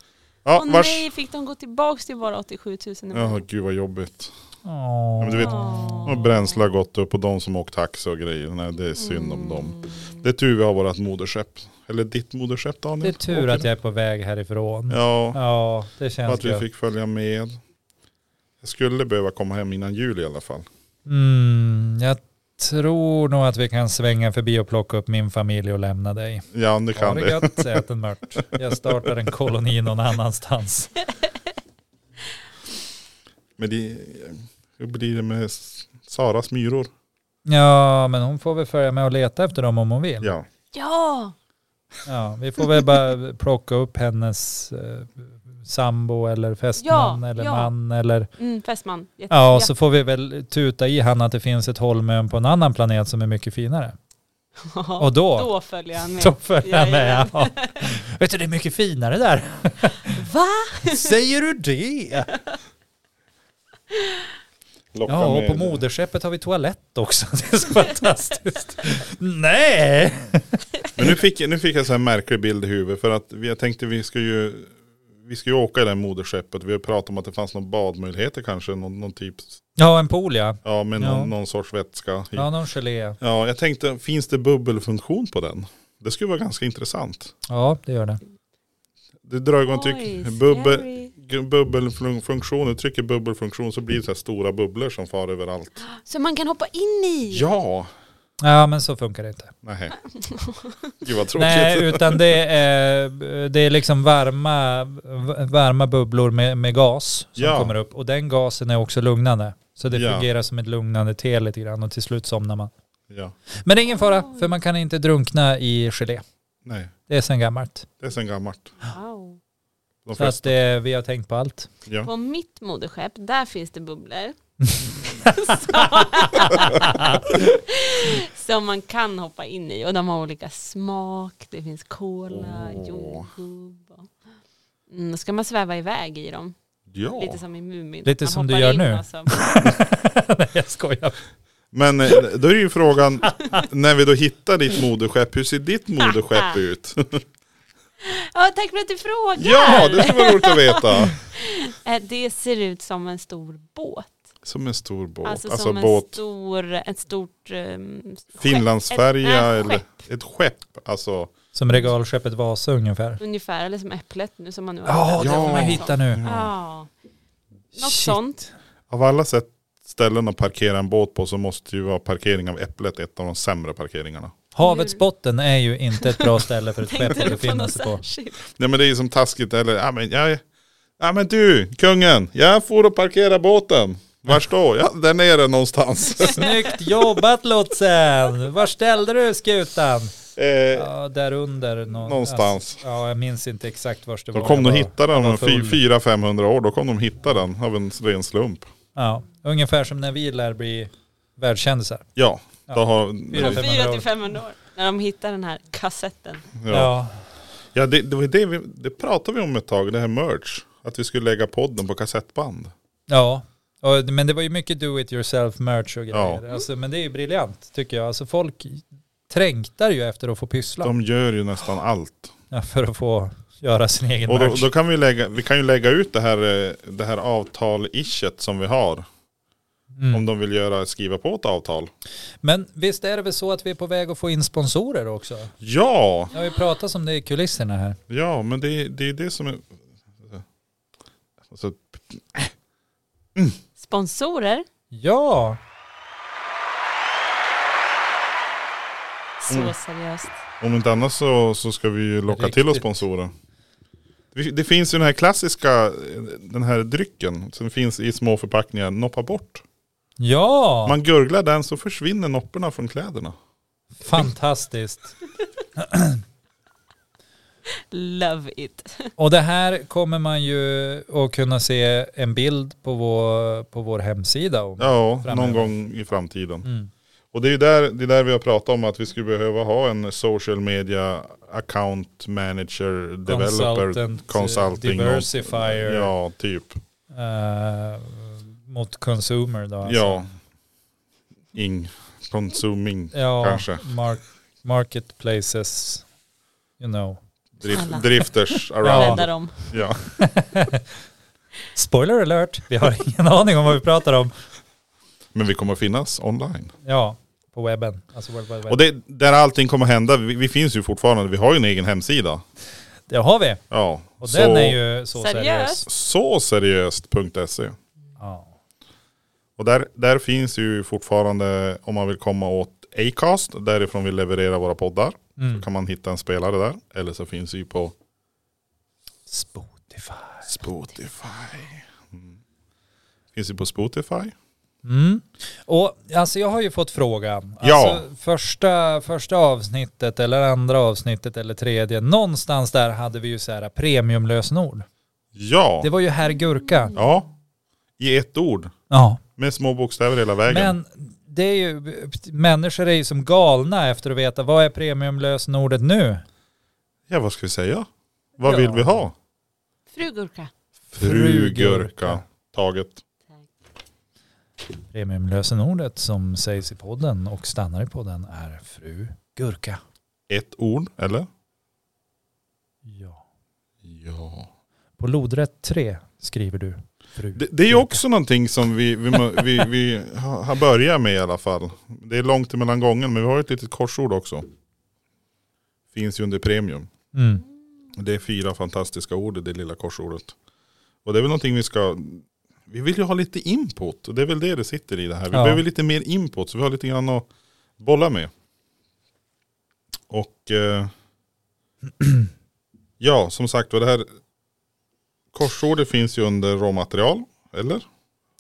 Speaker 3: Åh
Speaker 1: Ja, vars...
Speaker 3: nej, fick de gå tillbaka till bara 87 000 i
Speaker 1: Ja,
Speaker 3: månaden?
Speaker 1: gud vad jobbigt.
Speaker 2: åh.
Speaker 1: men du vet-
Speaker 3: Åh.
Speaker 1: Och bränsle har gått upp och de som åkt taxi och grejer. Nej, det är synd
Speaker 3: Mm.
Speaker 1: om dem. Det är tur vi har vårt moderskepp. Eller ditt moderskepp Daniel.
Speaker 2: det är tur att jag är på väg härifrån. Ja,
Speaker 1: Ja,
Speaker 2: det
Speaker 1: och
Speaker 2: känns
Speaker 1: att vi
Speaker 2: gött.
Speaker 1: fick följa med. Jag skulle behöva komma hem innan jul i alla fall.
Speaker 2: Mm, jag tror nog att vi kan svänga förbi och plocka upp min familj och lämna dig.
Speaker 1: Ja, det
Speaker 2: Ha
Speaker 1: kan
Speaker 2: det
Speaker 1: det.
Speaker 2: gött, ät en mört. Jag startar en koloni
Speaker 1: *laughs*
Speaker 2: någon annanstans.
Speaker 1: Men det, hur blir det med S- Saras myror?
Speaker 2: Ja, men hon får väl följa med och leta efter dem om hon vill.
Speaker 1: Ja,
Speaker 3: Ja!
Speaker 2: Ja, vi får väl bara plocka upp hennes eh, sambo eller fästman
Speaker 3: Ja,
Speaker 2: eller
Speaker 3: ja.
Speaker 2: man eller
Speaker 3: Mm, fästman. Jätte-
Speaker 2: ja, och så får vi väl tuta i han att det finns ett Holmön på en annan planet som är mycket finare.
Speaker 3: Ja.
Speaker 2: Och då,
Speaker 3: Då följer han med.
Speaker 2: då följer jag med.
Speaker 3: Jajamän.
Speaker 2: Ja. Vet du, det är mycket finare där.
Speaker 3: Va?
Speaker 2: Säger du det?
Speaker 1: Locka
Speaker 2: Ja, och
Speaker 1: med-
Speaker 2: på moderskeppet har vi toalett också. *laughs* Det är så fantastiskt. Nej!
Speaker 1: Men nu fick, jag- nu fick jag så här märklig bild i huvudet. För att vi- jag tänkte vi ska ju, vi ska ju åka i det här moderskeppet. Vi har pratat om att det fanns någon badmöjligheter kanske. Någon, någon typ,
Speaker 2: Ja, en pool ja.
Speaker 1: ja men
Speaker 2: Ja.
Speaker 1: Någon, någon sorts vätska. i.
Speaker 2: Ja, någon gelé.
Speaker 1: Ja, jag tänkte, finns det bubbelfunktion på den? Det skulle vara ganska intressant.
Speaker 2: Ja, det gör det.
Speaker 1: Du drar igång, tryck,
Speaker 3: Oj,
Speaker 1: bubbel,
Speaker 3: scary.
Speaker 1: bubbelfunktion, du trycker bubbelfunktion så blir det så här stora bubblor som far överallt.
Speaker 3: Så man kan hoppa in i?
Speaker 1: Ja,
Speaker 2: Ja men så funkar det inte.
Speaker 3: *laughs*
Speaker 1: Nej. Gud vad tråkigt.
Speaker 2: Nej utan det är, det är liksom varma, v- varma bubblor med, med gas som
Speaker 1: Ja.
Speaker 2: kommer upp och den gasen är också lugnande. Så det
Speaker 1: Ja.
Speaker 2: fungerar som ett lugnande te lite grann och till slut somnar man.
Speaker 1: Ja.
Speaker 2: Men det är ingen fara
Speaker 3: Oj.
Speaker 2: för man kan inte drunkna i gelé.
Speaker 1: Nej,
Speaker 2: Det är sen gammalt.
Speaker 1: det är sen gammalt.
Speaker 3: Wow.
Speaker 1: De
Speaker 2: Så att
Speaker 1: flesta.
Speaker 2: det, vi har tänkt på allt. *laughs*
Speaker 1: Ja.
Speaker 3: På mitt moderskepp, där finns det bubblor. som man kan hoppa in i. Och de har olika smak. Det finns cola,
Speaker 1: Åh.
Speaker 3: jordgubb. och- Mm, då ska man sväva iväg i dem.
Speaker 1: ja.
Speaker 3: Lite som i Mumin.
Speaker 2: Lite
Speaker 3: man
Speaker 2: som du
Speaker 3: hoppar
Speaker 2: gör
Speaker 3: in
Speaker 2: nu.
Speaker 3: och så-
Speaker 2: Nej jag skojar.
Speaker 1: Men eh, då är ju frågan, *laughs* när vi då hittar ditt moderskepp, hur ser ditt
Speaker 3: *laughs*
Speaker 1: moderskepp ut? *laughs*
Speaker 3: Ja, tack för att du frågar.
Speaker 1: ja, det skulle vara roligt att veta.
Speaker 3: Eh, Det ser ut som en stor båt.
Speaker 1: Som en stor båt.
Speaker 3: Alltså,
Speaker 1: Alltså,
Speaker 3: som en
Speaker 1: båt.
Speaker 3: stor, ett stort um,
Speaker 1: Finlandsfärja
Speaker 3: Ett- nej,
Speaker 1: eller
Speaker 3: skepp.
Speaker 1: ett skepp. Alltså,
Speaker 2: Som regalskeppet Vasa ungefär.
Speaker 3: ungefär, eller som äpplet nu som man nu
Speaker 2: Ja, det
Speaker 1: Ja.
Speaker 2: får man hitta nu.
Speaker 3: Ja, något
Speaker 2: Shit.
Speaker 3: sånt.
Speaker 1: av alla sätt ställen att parkera en båt på så måste ju vara parkering av Äpplet ett av de sämre parkeringarna.
Speaker 2: Havets botten är ju inte ett bra ställe för ett skepp
Speaker 3: Tänkte
Speaker 2: att
Speaker 3: du på
Speaker 2: befinna
Speaker 3: något
Speaker 2: sig på.
Speaker 3: särskilt?
Speaker 1: Nej men det är ju som taskigt eller, ja men jag, ja men du, kungen, jag får och parkera båten. Vars då? Ja, där nere någonstans.
Speaker 2: Snyggt jobbat lotsen! Var ställde du skutan?
Speaker 1: eh,
Speaker 2: Ja, där under. nå-
Speaker 1: Någonstans.
Speaker 2: Alltså, ja, jag minns inte exakt var det var.
Speaker 1: då kom de
Speaker 2: Jag var-
Speaker 1: hitta den
Speaker 2: jag var
Speaker 1: om fy-
Speaker 2: full.
Speaker 1: 400-500 år, då kom de hitta den av en ren slump.
Speaker 2: Ja, ungefär som när vi lär bli världskändisar.
Speaker 1: Ja, då
Speaker 2: Ja.
Speaker 1: har...
Speaker 2: Fyra, fem.
Speaker 3: Från
Speaker 1: Ja,
Speaker 2: 500
Speaker 3: 4
Speaker 2: år.
Speaker 3: till 500 år. När de hittar den här kassetten.
Speaker 1: ja. ja det, det, var det, vi, det pratade vi om ett tag, det här merch. Att vi skulle lägga podden på kassettband.
Speaker 2: Ja, och, men det var ju mycket do it yourself merch och grejer.
Speaker 1: Ja.
Speaker 2: Alltså, men det är ju briljant tycker jag. Alltså folk trängtar ju efter att få pyssla
Speaker 1: De gör ju nästan allt.
Speaker 2: ja, för att få göra sin egen
Speaker 1: Och då,
Speaker 2: merch.
Speaker 1: då kan vi, lägga, vi kan ju lägga ut det här, eh, det här avtal-ishet som vi har. Om
Speaker 2: mm.
Speaker 1: de vill göra, skriva på ett avtal.
Speaker 2: Men visst är det väl så att vi är på väg att få in sponsorer också?
Speaker 1: Ja,
Speaker 2: Jag har ju pratat om det i kulisserna här.
Speaker 1: ja men det, det är det som är... Alltså,
Speaker 3: Sponsorer.
Speaker 2: Ja,
Speaker 3: Så
Speaker 1: Mm.
Speaker 3: seriöst.
Speaker 1: om inte annat så, så ska vi ju locka till oss
Speaker 2: Riktigt.
Speaker 1: sponsorer. Det det finns ju den här klassiska, eh, den här drycken som finns i små förpackningar, noppa bort.
Speaker 2: ja,
Speaker 1: Man gurglar den så försvinner nopporna från kläderna.
Speaker 2: fantastiskt.
Speaker 3: Love it.
Speaker 2: Och det här kommer man ju att kunna se en bild på vår, på vår hemsida om.
Speaker 1: Ja,
Speaker 2: Framöver.
Speaker 1: någon gång i framtiden.
Speaker 2: Mm.
Speaker 1: Och det är ju där, det är där vi har pratat om att vi skulle behöva ha en social media account manager developer
Speaker 2: Consultant, eh,
Speaker 1: consulting. och-
Speaker 2: diversifier.
Speaker 1: Ja, typ.
Speaker 2: Eh, mot consumer då. Alltså.
Speaker 1: Ja. Ing. Consuming.
Speaker 2: ja
Speaker 1: kanske.
Speaker 2: Mark, marketplaces, you know.
Speaker 3: Alla.
Speaker 1: Drift, drifters around.
Speaker 3: Rädda dem.
Speaker 1: Ja.
Speaker 2: Spoiler alert, vi har *laughs* ingen aning om vad vi pratar om.
Speaker 1: Men vi kommer finnas online.
Speaker 2: Ja, på webben. Alltså World Wide Web.
Speaker 1: Och det, där allting kommer hända, vi, vi finns ju fortfarande, vi har ju en egen hemsida.
Speaker 2: det har vi.
Speaker 1: Ja.
Speaker 2: Och
Speaker 1: så,
Speaker 2: den är ju så seriös.
Speaker 3: Seriös?
Speaker 1: Så seriöst.se.
Speaker 2: Ja.
Speaker 1: E. Och där, där finns ju fortfarande, om man vill komma åt Acast, därifrån vi levererar våra poddar.
Speaker 2: Mm.
Speaker 1: Kan man hitta en spelare där. Eller så finns det ju på
Speaker 2: Spotify.
Speaker 1: Spotify. Mm. Finns ju på Spotify.
Speaker 2: Mm. Och alltså jag har ju fått frågan.
Speaker 1: Ja.
Speaker 2: Alltså, första, första avsnittet eller andra avsnittet eller tredje, någonstans där hade vi ju så här premiumlösenord.
Speaker 1: Ja.
Speaker 2: Det var ju herr Gurka.
Speaker 1: ja. I ett ord.
Speaker 2: Ja.
Speaker 1: Med små bokstäver hela vägen.
Speaker 2: Men det är ju, människor är ju som galna efter att veta vad är premiumlösenordet nu?
Speaker 1: Ja, vad ska vi säga? Vad
Speaker 2: Ja.
Speaker 1: vill vi ha?
Speaker 3: Frugurka.
Speaker 1: Frugurka. Taget.
Speaker 2: Premiumlösenordet som sägs i podden och stannar i podden är fru Gurka.
Speaker 1: Ett ord, eller?
Speaker 2: Ja.
Speaker 1: Ja.
Speaker 2: På lodrätt 3 skriver du fru.
Speaker 1: Det, det är ju också någonting som vi, vi, må- vi, vi har har börjat med i alla fall. Det är långt emellan gången men vi har ett litet korsord också. Finns ju under premium.
Speaker 2: Mm.
Speaker 1: Det är fyra fantastiska ord i det lilla korsordet. Och det är väl någonting vi ska... Vi vill ju ha lite input och det är väl det det sitter i det här. Vi
Speaker 2: Ja.
Speaker 1: behöver lite mer input så vi har lite grann att bolla med. Och eh, *clears throat* ja, som sagt var det här korsordet finns ju under råmaterial, eller?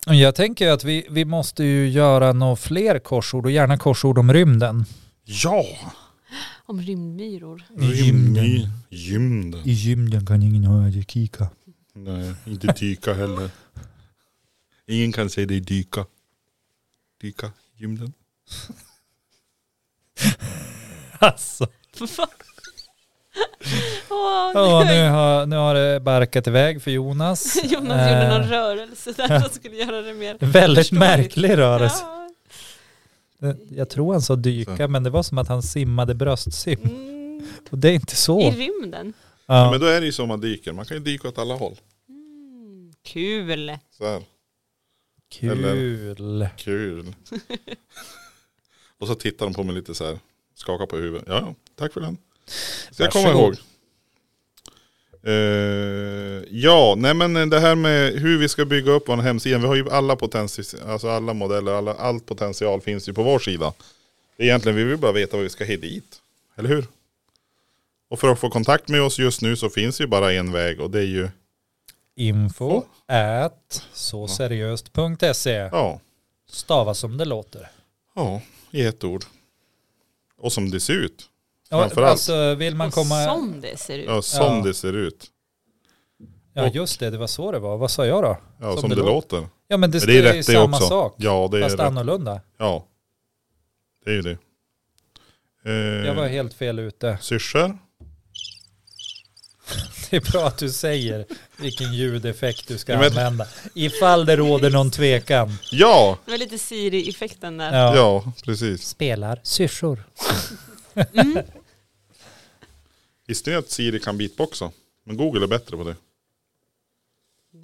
Speaker 2: Jag tänker att vi, vi måste ju göra några fler korsord och gärna korsord om rymden.
Speaker 1: Ja!
Speaker 3: Om rymdmyror.
Speaker 1: Rymd. Gymden.
Speaker 2: I rymden kan ingen höra kika.
Speaker 1: Nej, inte dyka heller. Ingen kan se dig dyka. Dyka, gymden.
Speaker 3: *laughs*
Speaker 2: Alltså. *laughs*
Speaker 3: Åh,
Speaker 2: Ja,
Speaker 3: nej.
Speaker 2: nu har, nu har det barkat iväg för Jonas.
Speaker 3: *laughs* Jonas
Speaker 2: Eh,
Speaker 3: gjorde någon rörelse
Speaker 2: *laughs*
Speaker 3: där som skulle göra det mer.
Speaker 2: Väldigt
Speaker 3: förståeligt.
Speaker 2: märklig rörelse. Eh,
Speaker 3: Ja.
Speaker 2: Jag tror han sa dyka,
Speaker 1: Så.
Speaker 2: men det var som att han simmade bröstsim.
Speaker 3: Mm.
Speaker 2: Och det är inte
Speaker 3: I
Speaker 2: så.
Speaker 3: rymden.
Speaker 1: Ja.
Speaker 2: Ja.
Speaker 1: Men då är det ju som man dyker, man kan ju dyka åt alla håll.
Speaker 3: Mm. Kul.
Speaker 1: Så här,
Speaker 2: Kul.
Speaker 1: kul. Och så tittar de på mig lite så här, skakar på huvudet. Ja, ja, tack för den. Så jag kommer
Speaker 2: Varsågod.
Speaker 1: ihåg. Eh, ja, nej men det här med hur vi ska bygga upp vår hemsida. Vi har ju alla potential, alltså alla modeller, alla, allt potential finns ju på vår sida. Egentligen vill vi bara veta vad vi ska hit dit, eller hur? Och för att få kontakt med oss just nu så finns ju bara en väg och det är ju,
Speaker 2: Info at såseriöst.se.
Speaker 1: ja,
Speaker 2: Stava som det låter.
Speaker 1: ja, i ett ord. Och som det ser ut.
Speaker 2: Ja,
Speaker 1: Framförallt.
Speaker 2: Alltså vill man
Speaker 3: Och
Speaker 2: komma...
Speaker 3: Som det ser ut.
Speaker 1: Ja, som
Speaker 2: Ja.
Speaker 1: det ser ut.
Speaker 2: Ja just det, det var så det var. Vad sa jag då?
Speaker 1: Ja, som, det, låter.
Speaker 2: Ja men det,
Speaker 1: Men det är
Speaker 2: är ju
Speaker 1: rätt det
Speaker 2: samma
Speaker 1: också.
Speaker 2: sak.
Speaker 1: Ja, det är
Speaker 2: Fast
Speaker 1: rätt.
Speaker 2: annorlunda.
Speaker 1: Ja. Det är ju det. Eh,
Speaker 2: Jag var helt fel ute. *laughs*
Speaker 1: Syrsor.
Speaker 2: Det är bra att du säger vilken ljudeffekt du ska
Speaker 1: Ja, men-
Speaker 2: använda. Ifall det råder någon tvekan.
Speaker 1: Ja,
Speaker 3: Det var lite Siri-effekten där.
Speaker 1: ja,
Speaker 2: Ja.
Speaker 1: precis.
Speaker 2: Spelar syrsor.
Speaker 1: Visste ni att Siri kan beatboxa? Men Google är bättre på det.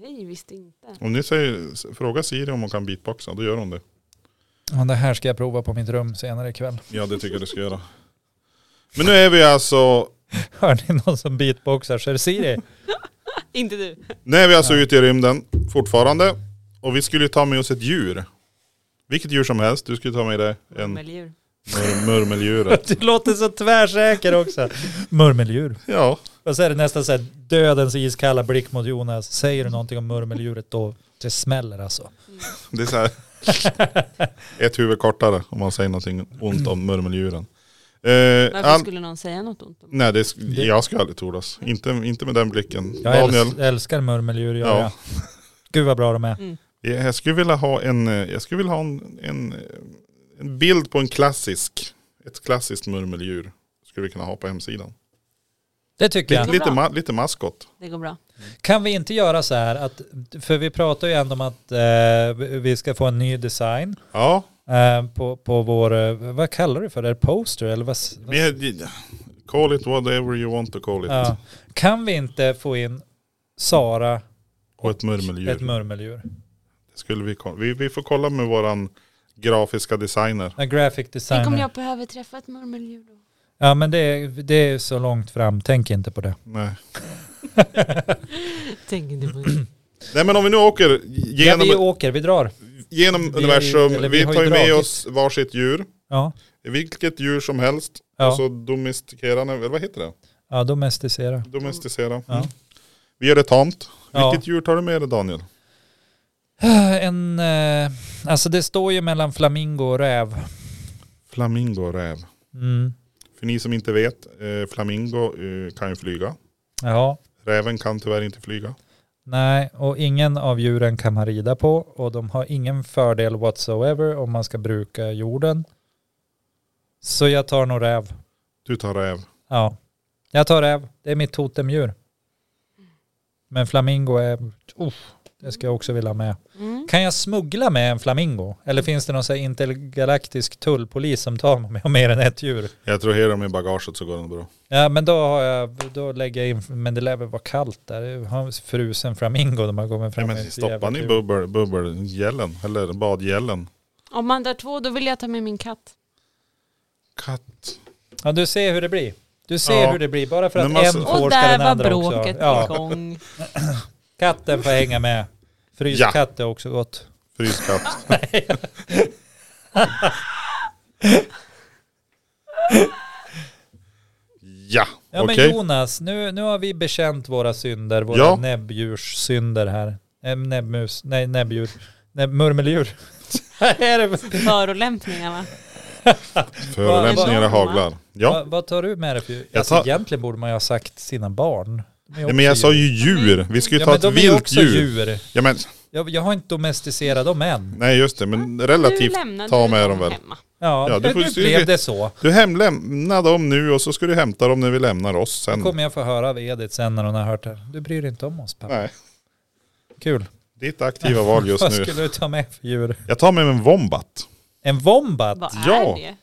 Speaker 3: Nej, visst inte.
Speaker 1: Om ni säger, s- fråga Siri om hon kan beatboxa, då gör hon det.
Speaker 2: Ja, det här ska jag prova på mitt rum senare ikväll.
Speaker 1: Ja, det tycker jag du ska göra. Men nu är vi alltså,
Speaker 2: *laughs* Hör ni någon som beatboxar så är
Speaker 1: *laughs*
Speaker 2: det Siri.
Speaker 3: Inte du.
Speaker 1: nu är vi alltså ute i rymden fortfarande. Och vi skulle ju ta med oss ett djur. Vilket djur som helst. Du skulle ta med dig en
Speaker 3: Murmeldjur.
Speaker 1: mur-
Speaker 2: *laughs*
Speaker 1: murmeldjur.
Speaker 2: Du låter så tvärsäker också. Murmeldjur.
Speaker 1: Ja,
Speaker 2: Och så är det nästan så här dödens iskalla blick mot Jonas. Säger du någonting om murmeldjuret då det smäller alltså.
Speaker 1: det är så här. *laughs* Ett huvud kortare om man säger någonting ont om murmeldjuren. Eh,
Speaker 3: Varför
Speaker 1: all-
Speaker 3: skulle någon säga något ont om
Speaker 1: Nej, det sk-
Speaker 2: Det-
Speaker 1: jag skulle aldrig tordas. Inte, inte med den blicken.
Speaker 2: Jag
Speaker 1: Daniel,
Speaker 2: äls- älskar murmeldjur. Gör
Speaker 1: Ja.
Speaker 2: jag. Gud vad bra de är.
Speaker 1: jag jag skulle vilja ha en, eh, jag skulle vilja ha en, en, eh, en bild på en klassisk, ett klassiskt murmeldjur. Skulle vi kunna ha på hemsidan.
Speaker 2: Det tycker jag.
Speaker 1: Lite, lite,
Speaker 3: bra.
Speaker 1: ma- lite maskot.
Speaker 3: det? går bra.
Speaker 2: Kan vi inte göra så här att, för vi pratar ju ändå om att eh, vi ska få en ny design
Speaker 1: Ja,
Speaker 2: eh, på, på vår, eh, vad kallar du för det? Poster eller vad? s- vad
Speaker 1: vi, hade- call it whatever you want to call it.
Speaker 2: ja. Kan vi inte få in Sara,
Speaker 1: Och ett murmeldjur.
Speaker 2: ett murmeldjur?
Speaker 1: skulle vi, ko- vi, vi får kolla med våran grafiska designer.
Speaker 2: En graphic
Speaker 3: Tänk om
Speaker 2: designer.
Speaker 3: jag behöver träffa ett murmeldjur då?
Speaker 2: Ja men det, är- det är så långt fram, tänk inte på det.
Speaker 1: Nej.
Speaker 3: Tänk inte på det.
Speaker 1: Nej men om vi nu åker
Speaker 2: Ja,
Speaker 1: genom,
Speaker 2: vi åker, vi drar.
Speaker 1: genom
Speaker 2: vi-
Speaker 1: universum,
Speaker 2: eller
Speaker 1: vi,
Speaker 2: vi har ju
Speaker 1: tar ju med
Speaker 2: dragit.
Speaker 1: oss varsitt djur.
Speaker 2: Ja,
Speaker 1: Vilket djur som helst.
Speaker 2: Ja.
Speaker 1: Och så domestikera, eller vad heter det?
Speaker 2: ja domesticera.
Speaker 1: Domesticera. Mm.
Speaker 2: Ja.
Speaker 1: Vi gör det tamt.
Speaker 2: Ja.
Speaker 1: Vilket djur tar du med dig Daniel?
Speaker 2: En, eh, alltså det står ju mellan flamingo och räv.
Speaker 1: Flamingo och räv.
Speaker 2: Mm.
Speaker 1: För ni som inte vet, eh, flamingo eh, kan ju flyga.
Speaker 2: Ja,
Speaker 1: Räven kan tyvärr inte flyga.
Speaker 2: Nej, och ingen av djuren kan man rida på och de har ingen fördel whatsoever om man ska bruka jorden. Så jag tar nog räv.
Speaker 1: Du tar räv.
Speaker 2: Ja, jag tar räv. Det är mitt totemdjur. Men flamingo är... Oh, det ska jag också vilja ha med.
Speaker 3: Mm.
Speaker 2: Kan jag smuggla med en flamingo? Eller finns det någon så här intergalaktisk tullpolis som tar mig om mer än ett djur?
Speaker 1: Jag tror här dem i bagaget så går det bra.
Speaker 2: Ja, men då, har jag, då lägger jag in... Men det lär väl vara kallt där. Jag har en frusen flamingo de har kommit
Speaker 1: Nej,
Speaker 2: fram med
Speaker 1: men
Speaker 2: ett jävla
Speaker 1: stoppar ni
Speaker 2: kul.
Speaker 1: bubbel, bubbelgällen? Eller badgällen?
Speaker 3: Om man tar två då vill jag ta med min katt.
Speaker 1: Katt.
Speaker 2: Ja, du ser hur det blir. Du ser
Speaker 1: Ja.
Speaker 2: hur det blir. Bara för
Speaker 1: Men
Speaker 2: att
Speaker 1: man-
Speaker 2: en
Speaker 3: Och
Speaker 2: får ska
Speaker 3: där
Speaker 2: den
Speaker 3: var
Speaker 2: andra också.
Speaker 3: bråket
Speaker 2: Ja,
Speaker 3: igång.
Speaker 2: katten får hänga med. Fryskatt är *laughs* också gott.
Speaker 1: Fryskatt. Ja,
Speaker 2: Ja men
Speaker 1: okej.
Speaker 2: Jonas, nu, nu har vi bekänt våra synder, våra
Speaker 1: Ja.
Speaker 2: näbbdjurssynder här. Eh, näbbmus, nej näbbdjur, näbb, murmeldjur. *laughs* Här är det.
Speaker 3: Förolämpningar va?
Speaker 1: Förolämpningar och
Speaker 3: Vad-
Speaker 1: haglar.
Speaker 2: Va,
Speaker 1: Ja.
Speaker 2: vad tar du med dig för djur?
Speaker 1: Jag
Speaker 2: Alltså,
Speaker 1: tar-
Speaker 2: egentligen borde man ju ha sagt sina barn. De är
Speaker 1: Nej,
Speaker 2: också
Speaker 1: men jag sa
Speaker 2: djur.
Speaker 1: ju djur. Vi ska ju
Speaker 2: ja,
Speaker 1: ta
Speaker 2: men de
Speaker 1: ett
Speaker 2: är ju
Speaker 1: vilt
Speaker 2: också
Speaker 1: djur.
Speaker 2: djur.
Speaker 1: Ja men,
Speaker 2: Jag, jag har inte domesticerat dem än.
Speaker 1: nej just det. Men
Speaker 3: Nu
Speaker 1: relativt.
Speaker 3: lämnade
Speaker 1: ta
Speaker 3: du
Speaker 1: med dem väl.
Speaker 3: hemma.
Speaker 2: Ja,
Speaker 1: Ja, du
Speaker 2: men
Speaker 1: får
Speaker 2: nu
Speaker 1: se-
Speaker 2: blev det så.
Speaker 1: Du hemlämnar dem nu och så ska du hämta dem när vi lämnar oss sen.
Speaker 2: kommer jag få höra av Edith sen när hon har hört det här. Du bryr dig inte om oss pappa.
Speaker 1: Nej,
Speaker 2: Kul.
Speaker 1: ditt aktiva val just
Speaker 2: Vad
Speaker 1: nu.
Speaker 2: skulle du ta med för djur?
Speaker 1: Jag tar med mig en wombat.
Speaker 2: En wombat?
Speaker 3: Vad
Speaker 1: Ja.
Speaker 3: är det?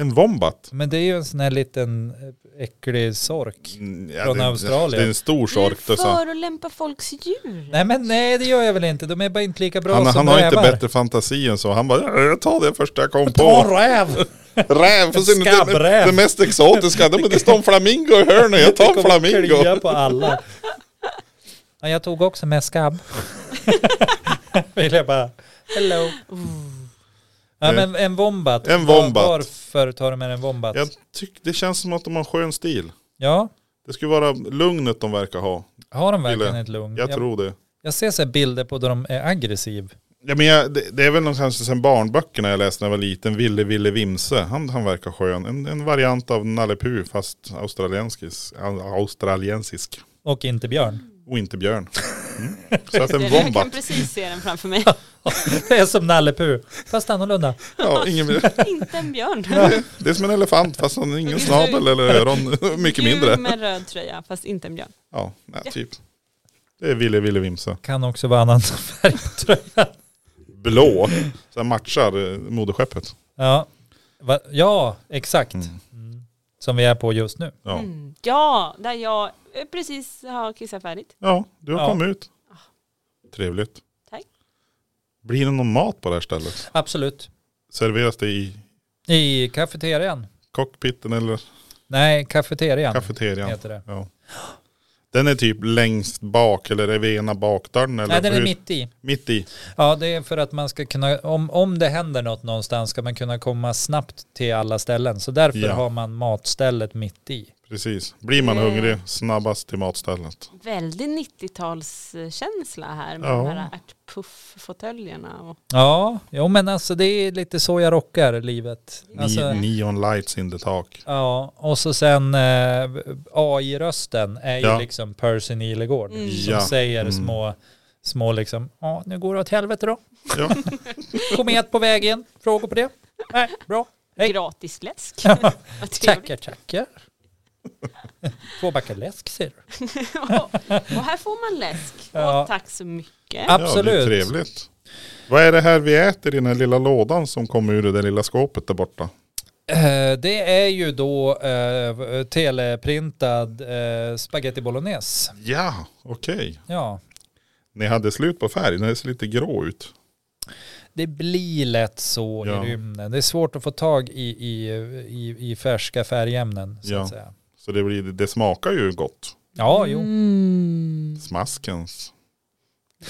Speaker 1: En wombat.
Speaker 2: Men det är ju en sån här liten eh, äcklig sork.
Speaker 1: Mm, ja,
Speaker 2: Från
Speaker 1: det,
Speaker 2: Australien.
Speaker 1: Det är en stor
Speaker 3: Du
Speaker 1: sork. det sa-
Speaker 3: förolämpar folks djur.
Speaker 2: Nej men nej det gör jag väl inte, de är bara inte lika bra
Speaker 1: Han,
Speaker 2: som
Speaker 1: han har inte
Speaker 2: rävar.
Speaker 1: bättre fantasi än så. Han bara, "Ja, jag tar det första jag kom
Speaker 2: Ta
Speaker 1: på.
Speaker 2: en räv!
Speaker 1: Räv, för sen det,
Speaker 2: skabbräv.
Speaker 1: det mest exotiska. Det, det står en flamingo i hörnet. Jag tar en
Speaker 2: klia
Speaker 1: flamingo.
Speaker 2: på alla. Ja, jag tog också
Speaker 1: *laughs*
Speaker 2: med skabb. Vill jag bara, hello. Ja, men en wombat.
Speaker 1: En
Speaker 2: Var-
Speaker 1: wombat.
Speaker 2: Varför tar du med en wombat?
Speaker 1: Jag tycker det känns som att de har en skön stil.
Speaker 2: Ja,
Speaker 1: Det skulle vara lugnet de verkar ha.
Speaker 2: har de verkligen
Speaker 1: Gillar
Speaker 2: ett lugn?
Speaker 1: Jag tror det.
Speaker 2: jag ser så här bilder på där de är aggressiv.
Speaker 1: Ja, men jag, det, det är väl någon, kanske sen barnböckerna jag läste när jag var liten. Ville Ville Vimse. Han, han verkar skön. En, en variant av Nalle Puh fast australiensisk. australiensisk.
Speaker 2: Och inte björn. *laughs*
Speaker 1: Och inte björn. Mm. Så att en
Speaker 3: Jag kan
Speaker 1: wombat.
Speaker 3: precis se den
Speaker 1: *laughs*
Speaker 3: framför mig.
Speaker 2: Det är som Nalle Puh, fast annorlunda.
Speaker 1: Ja, ingen,
Speaker 3: Inte en björn.
Speaker 1: det är som en elefant fast han har ingen snabel eller öron. *laughs* Mycket
Speaker 3: Djur
Speaker 1: mindre.
Speaker 3: med röd tröja, fast inte en björn.
Speaker 1: Ja, nej, typ. Det är Ville Ville Vimse.
Speaker 2: Kan också vara annan *laughs* färg på tröjan.
Speaker 1: Blå. Så här matchar eh, moderskeppet.
Speaker 2: Ja, Va? ja exakt. Mm. Som vi är på just nu.
Speaker 1: Ja.
Speaker 3: Mm. Ja, där jag eh, precis har kissat färdigt.
Speaker 1: Ja, du har
Speaker 2: Ja.
Speaker 1: kommit ut. Trevligt.
Speaker 3: Tack.
Speaker 1: Blir det någon mat på det här stället?
Speaker 2: Absolut.
Speaker 1: Serveras det i
Speaker 2: I kafeterian.
Speaker 1: cockpiten eller
Speaker 2: Nej, kafeterian
Speaker 1: kafeterian?
Speaker 2: heter det.
Speaker 1: Ja. Den är typ längst bak eller är vi ena bakdörren? Eller
Speaker 2: Nej, den är
Speaker 1: hur-
Speaker 2: mitt i.
Speaker 1: mitt i.
Speaker 2: Ja, det är för att man ska kunna, om, om det händer något någonstans ska man kunna komma snabbt till alla ställen. Så därför
Speaker 1: Ja.
Speaker 2: har man matstället mitt i.
Speaker 1: Precis. Blir man
Speaker 3: Eh.
Speaker 1: hungrig snabbast till matstället.
Speaker 3: Väldigt 90-talskänsla här med
Speaker 1: Ja.
Speaker 3: de här ärtpufffåtöljerna. Och...
Speaker 2: Ja, jo men alltså det är lite så jag rockar livet.
Speaker 1: Ni-
Speaker 2: Alltså,
Speaker 1: Neon lights in the talk.
Speaker 2: ja, och så sen eh, AI-rösten är ju
Speaker 1: Ja.
Speaker 2: liksom Percy Nilegård
Speaker 3: Mm.
Speaker 2: som
Speaker 1: Ja.
Speaker 2: säger
Speaker 1: Mm.
Speaker 2: små, små liksom, ja nu går det åt helvete då.
Speaker 1: Ja.
Speaker 2: *laughs* Komet på vägen, frågor på det? Nej, bra. Hej.
Speaker 3: Gratis läsk. Vad *laughs* trevligt.
Speaker 2: Tackar, tackar. *laughs* Två backar läsk säger du.
Speaker 3: *laughs* och, och här får man läsk.
Speaker 2: Ja.
Speaker 3: Och tack så mycket.
Speaker 1: Ja, det är
Speaker 2: Absolut.
Speaker 1: trevligt. Vad är det här vi äter i den här lilla lådan som kommer ur det där lilla skåpet där borta?
Speaker 2: Eh, Det är ju då eh, teleprintad eh, spaghetti bolognese.
Speaker 1: Ja, okej.
Speaker 2: Ja,
Speaker 1: Ni hade slut på färg, den ser lite grå ut.
Speaker 2: det blir lätt så
Speaker 1: Ja.
Speaker 2: i rymden. Det är svårt att få tag i, i, i, i färska färgämnen. Så
Speaker 1: Ja.
Speaker 2: att säga.
Speaker 1: Så det, blir, det smakar ju gott.
Speaker 2: Ja, jo.
Speaker 3: Mm,
Speaker 1: Smaskens.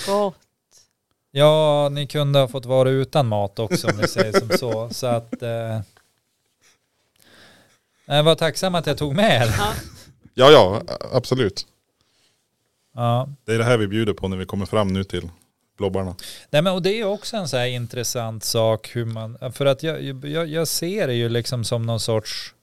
Speaker 3: gott.
Speaker 2: Ja, ni kunde ha fått vara utan mat också om ni säger som så. Så att... Eh, jag var tacksam att jag tog med er.
Speaker 3: Ja.
Speaker 1: Ja, ja, a- absolut.
Speaker 2: Ja.
Speaker 1: Det är det här vi bjuder på när vi kommer fram nu till blobbarna.
Speaker 2: Nej, men, och det är också en så här intressant sak hur man, för att jag, jag, jag ser det ju liksom som någon sorts,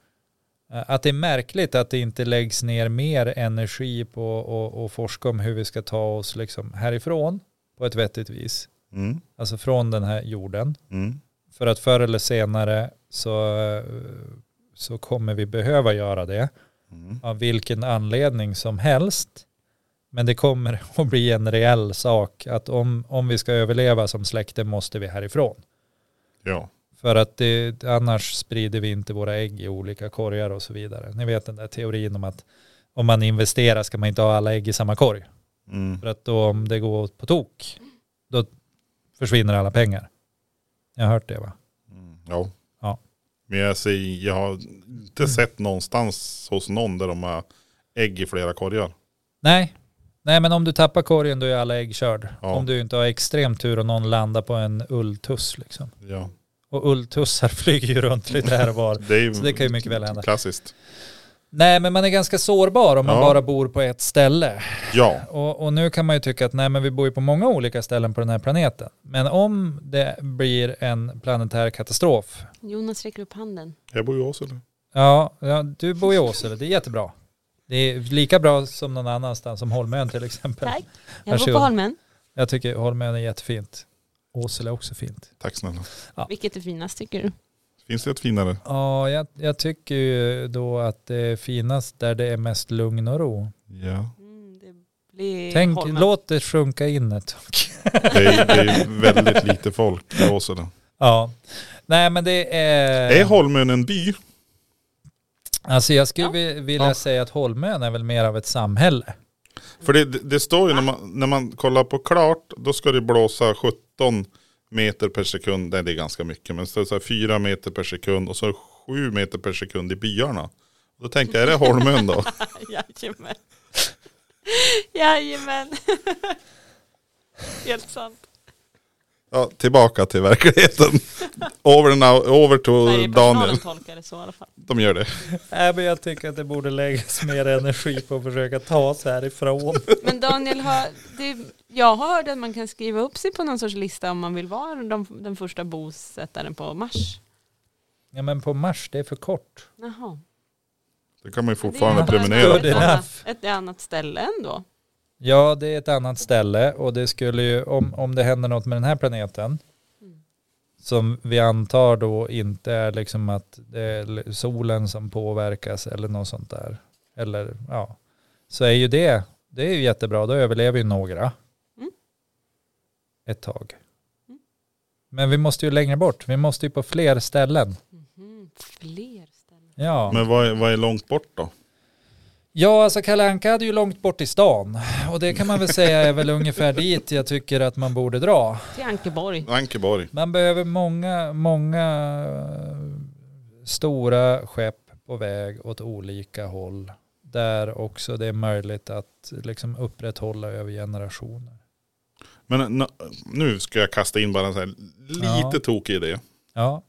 Speaker 2: eh, att det är märkligt att det inte läggs ner mer energi på att och forska om hur vi ska ta oss liksom härifrån på ett vettigt vis,
Speaker 1: Mm,
Speaker 2: alltså från den här jorden.
Speaker 1: mm,
Speaker 2: För att förr eller senare så, eh, så kommer vi behöva göra det
Speaker 1: mm.
Speaker 2: av vilken anledning som helst. Men det kommer *laughs* att bli en reell sak att om, om vi ska överleva som släkte måste vi härifrån.
Speaker 1: Ja,
Speaker 2: För att det, annars sprider vi inte våra ägg i olika korgar och så vidare. Ni vet den där teorin om att om man investerar ska man inte ha alla ägg i samma korg.
Speaker 1: mm.
Speaker 2: För att då om det går på tok, då försvinner alla pengar. Jag har hört det va?
Speaker 1: Mm, ja.
Speaker 2: Ja. Mm.
Speaker 1: Men jag, säger, jag har inte sett någonstans hos någon där de har ägg i flera korgar.
Speaker 2: Nej. Nej men om du tappar korgen då är alla ägg körd.
Speaker 1: Ja.
Speaker 2: Om du inte har extrem tur och någon landar på en ulltuss liksom.
Speaker 1: Ja.
Speaker 2: Och ulltussar *laughs* flyger ju runt lite här
Speaker 1: *laughs*
Speaker 2: och var.
Speaker 1: Det, är ju
Speaker 2: Så det kan ju mycket väl hända.
Speaker 1: Klassiskt.
Speaker 2: Nej men man är ganska sårbar om man
Speaker 1: Ja.
Speaker 2: bara bor på ett ställe.
Speaker 1: Ja,
Speaker 2: Och, och nu kan man ju tycka att nej men vi bor ju på många olika ställen på den här planeten. Men om det blir en planetär katastrof.
Speaker 3: Jonas räcker upp handen.
Speaker 1: jag bor ju i Åsele.
Speaker 2: Ja, ja du bor i Åsele, det är jättebra. Det är lika bra som någon annanstans, som Holmön till exempel.
Speaker 3: Tack. Jag bor
Speaker 2: Varsågod.
Speaker 3: på Holmen.
Speaker 2: Jag tycker Holmön är jättefint. Åsele är också fint.
Speaker 1: Tack snälla.
Speaker 3: Vilket är finast tycker du?
Speaker 1: Finns det ett finare?
Speaker 2: Ja, jag, jag tycker ju då att det är finast där det är mest lugn och ro.
Speaker 1: Ja.
Speaker 3: Mm, det blir
Speaker 2: Tänk,
Speaker 3: Holmen.
Speaker 2: låt det sjunka in ett tag.
Speaker 1: Det är, det är väldigt lite folk i Åsele.
Speaker 2: *laughs* Ja, nej men det är...
Speaker 1: Är Holmön en by?
Speaker 2: Alltså jag skulle
Speaker 3: Ja.
Speaker 2: vi- vilja
Speaker 1: Ja.
Speaker 2: säga att Holmön är väl mer av ett samhälle.
Speaker 1: För det, det, det står ju när man, när man kollar på klart, då ska det blåsa 17 meter per sekund. Nej, det är ganska mycket, men så, är det så här 4 meter per sekund och så 7 meter per sekund i byarna. Då tänker jag, är det Holmön
Speaker 3: *laughs*
Speaker 1: då?
Speaker 3: *laughs* Jajamän. Jajamän. *laughs* Helt sant.
Speaker 1: Ja, tillbaka till verkligheten. Over, and out, over to
Speaker 3: Nej, personalen
Speaker 1: Daniel.
Speaker 3: tolkar det så i alla fall.
Speaker 1: De gör det.
Speaker 2: Nej men jag tycker att det borde läggas mer energi på att försöka ta oss härifrån.
Speaker 3: Men Daniel, har, det, jag har hört att man kan skriva upp sig på någon sorts lista om man vill vara de, den första bosättaren på Mars.
Speaker 2: Ja men på Mars, det är för kort.
Speaker 3: Jaha.
Speaker 1: Det kan man ju
Speaker 3: Det
Speaker 1: fortfarande
Speaker 3: är bara
Speaker 1: prenumerera
Speaker 2: Ja, det är
Speaker 3: Ett,
Speaker 1: på.
Speaker 2: det.
Speaker 3: annat- ett annat ställe ändå.
Speaker 2: Ja det är ett annat ställe och det skulle ju, om, om det händer något med den här planeten,
Speaker 3: Mm.
Speaker 2: som vi antar då inte är liksom att det är l- solen som påverkas eller något sånt där. Eller ja, så är ju det, det är ju jättebra, då överlever ju några.
Speaker 3: Mm.
Speaker 2: Ett tag.
Speaker 3: Mm.
Speaker 2: Men vi måste ju längre bort, vi måste ju på fler ställen.
Speaker 3: Mhm, Fler ställen.
Speaker 2: Ja.
Speaker 1: Men vad är, vad är långt bort då?
Speaker 2: Ja, alltså Kalle Anka hade ju långt bort i stan och det kan man väl säga är väl ungefär dit jag tycker att man borde dra.
Speaker 3: Till Ankeborg.
Speaker 1: Ankeborg.
Speaker 2: Man behöver många, många eh, stora skepp på väg åt olika håll där också det är möjligt att liksom upprätthålla över generationer.
Speaker 1: Men n- nu ska jag kasta in bara en sån här lite
Speaker 2: Ja.
Speaker 1: tokig idé.
Speaker 2: Ja,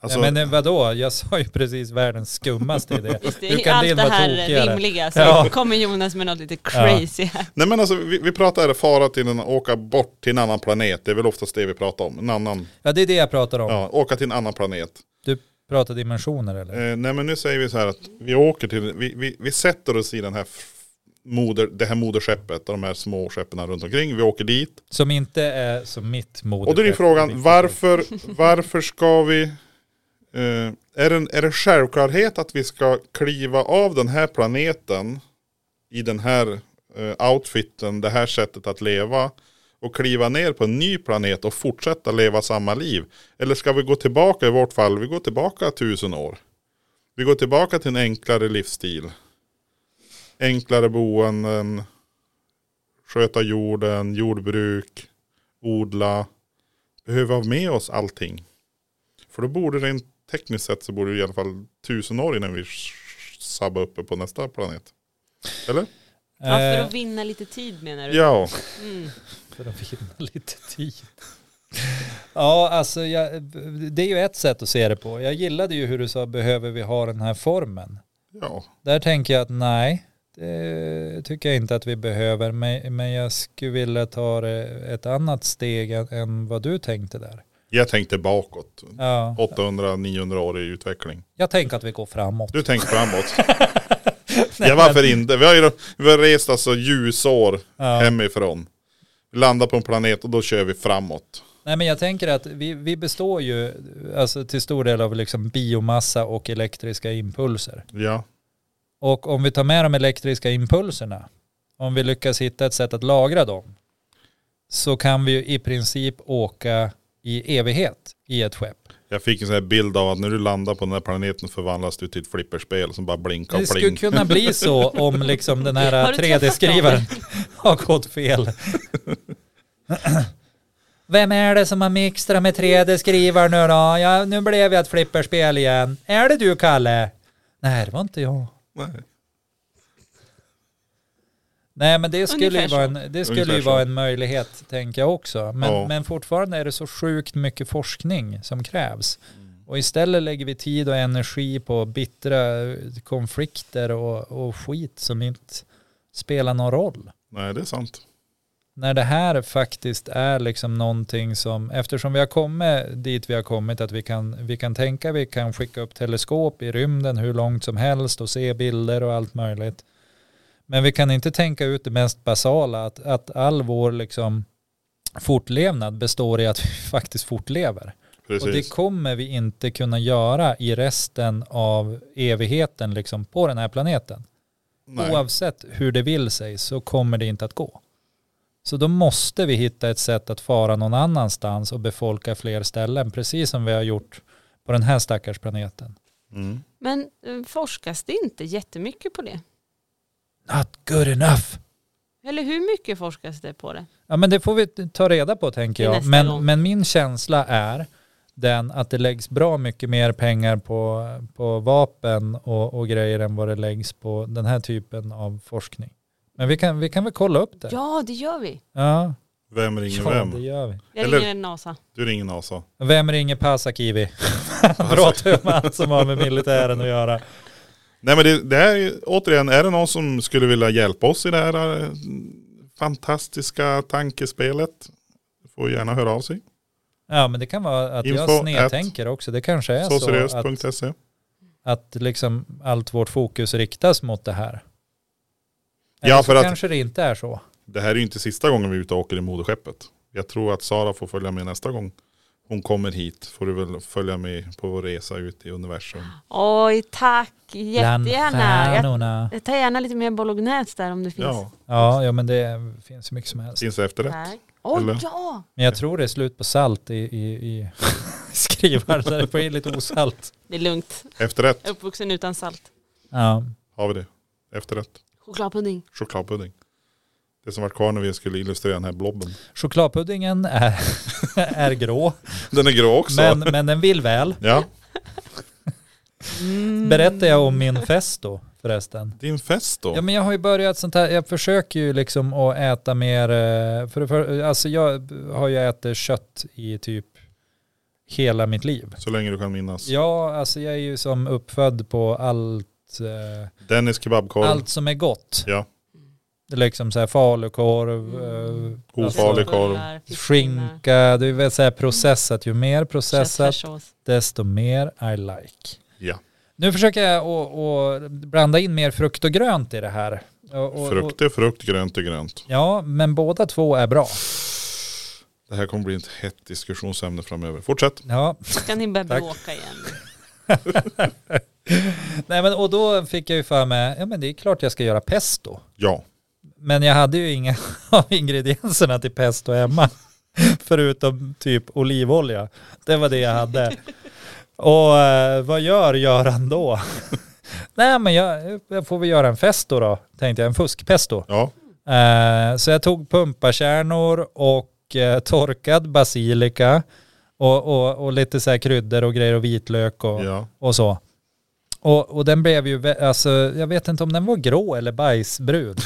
Speaker 1: Alltså,
Speaker 2: ja men eh, vadå, jag sa ju precis världens skummaste
Speaker 3: *laughs*
Speaker 2: idé.
Speaker 3: Det
Speaker 2: Hur
Speaker 3: är
Speaker 2: kan
Speaker 3: allt
Speaker 2: din
Speaker 3: det
Speaker 2: vara
Speaker 3: här
Speaker 2: tokigare?
Speaker 3: rimliga. Så
Speaker 2: Ja.
Speaker 3: kommer Jonas med något lite crazy här.
Speaker 1: Nej men alltså vi, vi pratar fara till en, åka bort till en annan planet. Det är väl oftast det vi pratar om. En annan,
Speaker 2: Ja, det är det jag pratar om.
Speaker 1: ja, åka till en annan planet.
Speaker 2: Du pratar dimensioner eller?
Speaker 1: Eh, nej men nu säger vi så här att vi åker till, vi, vi, vi sätter oss i den här f- moder, det här moderskeppet och de här små skeppen runt omkring. Vi åker dit.
Speaker 2: Som inte är som mitt moderskepp.
Speaker 1: Och då är ju frågan varför, varför ska vi, eh, är, det, en- är det självklarhet att vi ska kliva av den här planeten i den här eh, outfiten, det här sättet att leva och kliva ner på en ny planet och fortsätta leva samma liv? Eller ska vi gå tillbaka i vårt fall, vi går tillbaka tusen år. Vi går tillbaka till en enklare livsstil. Enklare boenden, sköta jorden, jordbruk, odla, behöver ha med oss allting. För då borde rent tekniskt sett så borde det i alla fall tusen år innan vi sabbar uppe på nästa planet. Eller?
Speaker 3: Ja, för
Speaker 2: Eh,
Speaker 3: att vinna lite tid menar du?
Speaker 1: Ja,
Speaker 3: Mm.
Speaker 2: för att vinna *laughs* lite tid. Ja, alltså jag, det är ju ett sätt att se det på. Jag gillade ju hur du sa, behöver vi ha den här formen?
Speaker 1: ja.
Speaker 2: Där tänker jag att nej, det tycker jag inte att vi behöver, men, men jag skulle vilja ta det ett annat steg än- än vad du tänkte där.
Speaker 1: Jag tänkte bakåt.
Speaker 2: Ja,
Speaker 1: 800-900 år i utveckling.
Speaker 2: jag tänker att vi går framåt.
Speaker 1: Du tänker
Speaker 2: *laughs*
Speaker 1: framåt. ja, varför inte? Vi har ju vi har rest alltså ljusår
Speaker 2: Ja.
Speaker 1: hemifrån. Vi landar på en planet och då kör vi framåt.
Speaker 2: Nej, men jag tänker att vi, vi består ju alltså, till stor del av liksom biomassa och elektriska impulser.
Speaker 1: Ja,
Speaker 2: Och om vi tar med de elektriska impulserna, om vi lyckas hitta ett sätt att lagra dem, så kan vi ju i princip åka i evighet i ett skepp.
Speaker 1: jag fick en sån här bild av att när du landar på den här planeten förvandlas du till ett flipperspel som bara blinkar
Speaker 2: Det
Speaker 1: och
Speaker 2: skulle
Speaker 1: pling.
Speaker 2: kunna bli *laughs* så om liksom den här
Speaker 3: Har du träffat
Speaker 2: 3D-skrivaren *laughs* har gått *laughs* fel. Vem är det som har mixtrat med 3D-skrivaren nu då? Ja, nu blev jag ett flipperspel igen. Är det du, Kalle? Nej, det var inte jag.
Speaker 1: Nej.
Speaker 2: Nej men det skulle, ju
Speaker 3: Ungefär
Speaker 2: vara, en, det skulle
Speaker 1: Ungefär
Speaker 2: ju
Speaker 1: så.
Speaker 2: vara en möjlighet tänker jag också. Men,
Speaker 1: Ja.
Speaker 2: men fortfarande är det så sjukt mycket forskning som krävs.
Speaker 1: Mm.
Speaker 2: Och istället lägger vi tid och energi på bittra eh, konflikter och, och skit som inte spelar någon roll.
Speaker 1: Nej det är sant.
Speaker 2: När det här faktiskt är liksom någonting som, eftersom vi har kommit dit vi har kommit, att vi kan, vi kan tänka, vi kan skicka upp teleskop i rymden hur långt som helst och se bilder och allt möjligt. Men vi kan inte tänka ut det mest basala, att, att all vår liksom fortlevnad består i att *laughs* vi faktiskt fortlever. Och det
Speaker 1: Precis.
Speaker 2: kommer vi inte kunna göra i resten av evigheten liksom på den här planeten.
Speaker 1: Nej.
Speaker 2: Oavsett hur det vill sig så kommer det inte att gå. Så då måste vi hitta ett sätt att fara någon annanstans och befolka fler ställen, precis som vi har gjort på den här stackars planeten.
Speaker 1: Mm.
Speaker 3: Men eh, forskas det inte jättemycket på det?
Speaker 2: Not good enough.
Speaker 3: Eller hur mycket forskas det på det?
Speaker 2: Ja men det får vi ta reda på tänker
Speaker 3: Till
Speaker 2: jag.
Speaker 3: nästa
Speaker 2: Men,
Speaker 3: gång.
Speaker 2: men min känsla är den att det läggs bra mycket mer pengar på, på vapen och, och grejer än vad det läggs på den här typen av forskning. Men vi kan, vi kan väl kolla upp det?
Speaker 3: Ja, det gör vi.
Speaker 2: ja.
Speaker 1: Vem ringer
Speaker 2: Ja, det
Speaker 1: vem?
Speaker 2: gör vi.
Speaker 3: Jag
Speaker 1: Eller-
Speaker 3: ringer NASA.
Speaker 1: Du ringer NASA.
Speaker 2: Vem
Speaker 1: *laughs*
Speaker 2: ringer Pasakivi? bra tuman som har med militären att göra.
Speaker 1: Nej men det, det här är ju- återigen, är det någon som skulle vilja hjälpa oss i det här eh, fantastiska tankespelet? Får gärna höra av sig.
Speaker 2: Ja men det kan vara att
Speaker 1: Info
Speaker 2: jag
Speaker 1: at-
Speaker 2: snedtänker också. Det kanske är så, att,
Speaker 1: Såseriöst.se
Speaker 2: att liksom allt vårt fokus riktas mot det här.
Speaker 1: Ja,
Speaker 2: Eller så
Speaker 1: för att-
Speaker 2: kanske det inte är så.
Speaker 1: Det här är ju inte sista gången vi är ute och åker i moderskeppet. Jag tror att Sara får följa med nästa gång hon kommer hit. Får du väl följa med på vår resa ut i universum.
Speaker 3: Oj, tack. Jättegärna. Jag,
Speaker 2: stjärnorna.
Speaker 3: jag tar gärna lite mer bolognese där om det finns.
Speaker 1: Ja,
Speaker 2: Ja, ja, men det finns ju mycket som helst.
Speaker 1: finns det efterrätt.
Speaker 3: Tack. Oj,
Speaker 1: Eller?
Speaker 3: ja.
Speaker 2: Men jag tror det är slut på salt i, i, i *laughs* skrivar där det får in lite osalt.
Speaker 3: Det är lugnt.
Speaker 1: Efterrätt
Speaker 3: Jag är uppvuxen utan salt.
Speaker 2: Ja,
Speaker 1: har vi det. Efterrätt.
Speaker 3: Chokladpudding.
Speaker 1: Chokladpudding. Det som var kvar när vi skulle illustrera den här blobben.
Speaker 2: chokladpuddingen är, *laughs* är grå,
Speaker 1: Den är grå också.
Speaker 2: men, men den vill väl.
Speaker 1: Ja,
Speaker 3: Mm.
Speaker 2: Berättar jag om min fest då förresten?
Speaker 1: din fest då.
Speaker 2: Ja men jag har ju börjat sånt här, jag försöker ju liksom att äta mer, eh, för, det för alltså jag har ju ätit kött i typ hela mitt liv.
Speaker 1: Så länge du kan minnas.
Speaker 2: Ja, alltså jag är ju som uppfödd på allt, eh,
Speaker 1: Dennis kebabkorv.
Speaker 2: allt som är gott.
Speaker 1: Ja.
Speaker 2: Det är liksom så här falukorv,
Speaker 3: Mm.
Speaker 2: eh,
Speaker 1: Ofarlig
Speaker 2: alltså,
Speaker 1: korv.
Speaker 3: Bullar, fiskpinnar,
Speaker 2: skinka, det är väl så här processat. Ju mer processat
Speaker 3: köttfärssås.
Speaker 2: desto mer I like.
Speaker 1: Ja.
Speaker 2: Nu försöker jag att- att blanda in mer frukt och grönt i det här. Och, och,
Speaker 1: Frukt
Speaker 2: Och,
Speaker 1: är frukt, grönt är grönt.
Speaker 2: ja, men båda två är bra.
Speaker 1: Det här kommer bli ett hett diskussionsämne framöver. Fortsätt.
Speaker 2: Ja. *laughs*
Speaker 3: Ska ni börja
Speaker 2: Tack.
Speaker 3: bråka igen? *laughs*
Speaker 2: Nej, men, och då fick jag ju för mig, ja men det är klart jag ska göra pesto.
Speaker 1: Ja.
Speaker 2: Men jag hade ju inga *laughs* av ingredienserna till pesto hemma. *laughs* Förutom typ olivolja. Det var det jag hade. Och eh, vad gör Göran då? *laughs* Nej men jag, jag får väl göra en festo då, tänkte jag. En fuskpesto.
Speaker 1: Ja.
Speaker 2: Eh, så jag tog pumpakärnor och eh, torkad basilika. Och, och, och lite så här kryddor och grejer och vitlök och,
Speaker 1: Ja.
Speaker 2: och så. Och, och den blev ju, vä- alltså jag vet inte om den var grå eller bajsbrun.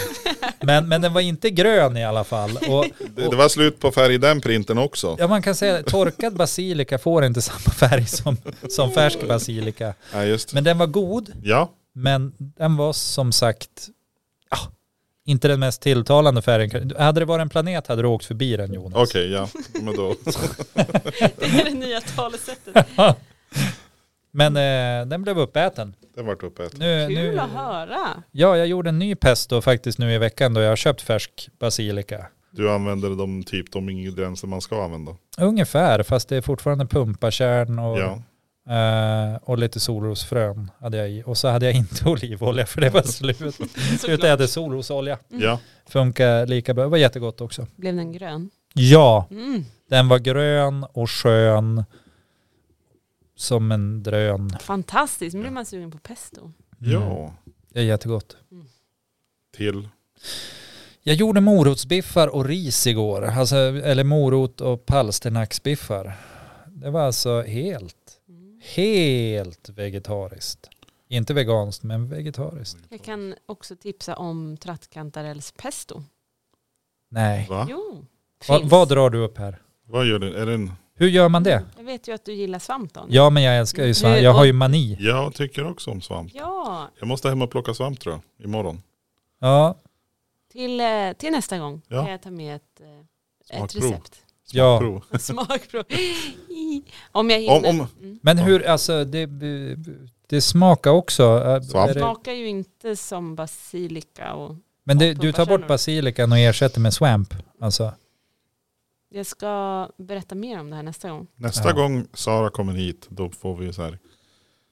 Speaker 2: men, men den var inte grön i alla fall. Och,
Speaker 1: Det, det var slut på färg i den printen också.
Speaker 2: ja man kan säga att torkad basilika får inte samma färg som, som färsk basilika.
Speaker 1: Ja, just.
Speaker 2: Men den var god,
Speaker 1: Ja.
Speaker 2: men den var som sagt, ja, inte den mest tilltalande färgen. Hade det varit en planet hade du åkt förbi den Jonas.
Speaker 1: Okej, ja. Men då. *laughs*
Speaker 3: Det är det nya talesättet.
Speaker 2: Men eh, den blev uppäten.
Speaker 1: Den vart uppäten.
Speaker 2: Äh, Nu,
Speaker 3: Kul
Speaker 2: nu,
Speaker 3: att höra.
Speaker 2: ja, jag gjorde en ny pesto faktiskt nu i veckan då jag har köpt färsk basilika.
Speaker 1: Du använder de typ de ingredienser man ska använda.
Speaker 2: Ungefär, fast det är fortfarande pumpakärn och,
Speaker 1: Ja.
Speaker 2: eh, och lite solrosfrön hade jag i. Och så hade jag inte *laughs* olivolja för det var
Speaker 3: *laughs*
Speaker 2: slut. Utan jag hade solrosolja.
Speaker 3: Mm.
Speaker 1: Ja.
Speaker 2: Funkar lika bra, det var jättegott också.
Speaker 3: Blev den grön?
Speaker 2: Ja,
Speaker 3: Mm.
Speaker 2: den var grön och skön. Som en drön. Mm.
Speaker 3: Fantastiskt, nu blir man sugen på pesto.
Speaker 1: Ja.
Speaker 2: Det är jättegott.
Speaker 1: Till.
Speaker 2: Jag gjorde morotsbiffar och ris igår. Alltså, eller morot och
Speaker 3: Mm.
Speaker 2: palsternacksbiffar. Det var alltså helt, helt vegetariskt. Inte veganskt men vegetariskt.
Speaker 3: Jag kan också tipsa om trattkantarellspesto.
Speaker 2: Nej.
Speaker 1: Va?
Speaker 3: Jo,
Speaker 2: Va,
Speaker 3: finns.
Speaker 2: vad drar du upp här?
Speaker 1: Vad gör du? Är det en...
Speaker 2: Hur gör man det?
Speaker 3: Jag vet ju att du gillar svamp Daniel.
Speaker 2: Ja men jag älskar ju svamp. Jag har ju mani.
Speaker 1: Jag tycker också om svamp.
Speaker 3: Ja,
Speaker 1: Jag måste hem och plocka svamp tror jag, imorgon.
Speaker 2: Ja,
Speaker 3: till, eh, till nästa gång
Speaker 1: Ja.
Speaker 3: kan jag ta med ett, eh, ett
Speaker 1: Smakprov. *laughs*
Speaker 3: recept.
Speaker 2: ja.
Speaker 1: Prov.
Speaker 3: Smakprov. om jag hinner.
Speaker 1: Om, om,
Speaker 3: Mm.
Speaker 2: Men hur, alltså det, det smakar också. Är
Speaker 1: Svamp.
Speaker 2: det-
Speaker 3: Smakar ju inte som basilika och
Speaker 2: Men det, du
Speaker 3: Ja,
Speaker 2: tar bort
Speaker 3: pumparkärnor.
Speaker 2: basilikan och ersätter med swamp. Alltså,
Speaker 3: jag ska berätta mer om det här nästa gång.
Speaker 1: nästa
Speaker 2: Ja.
Speaker 1: gång Sara kommer hit, då får vi så här.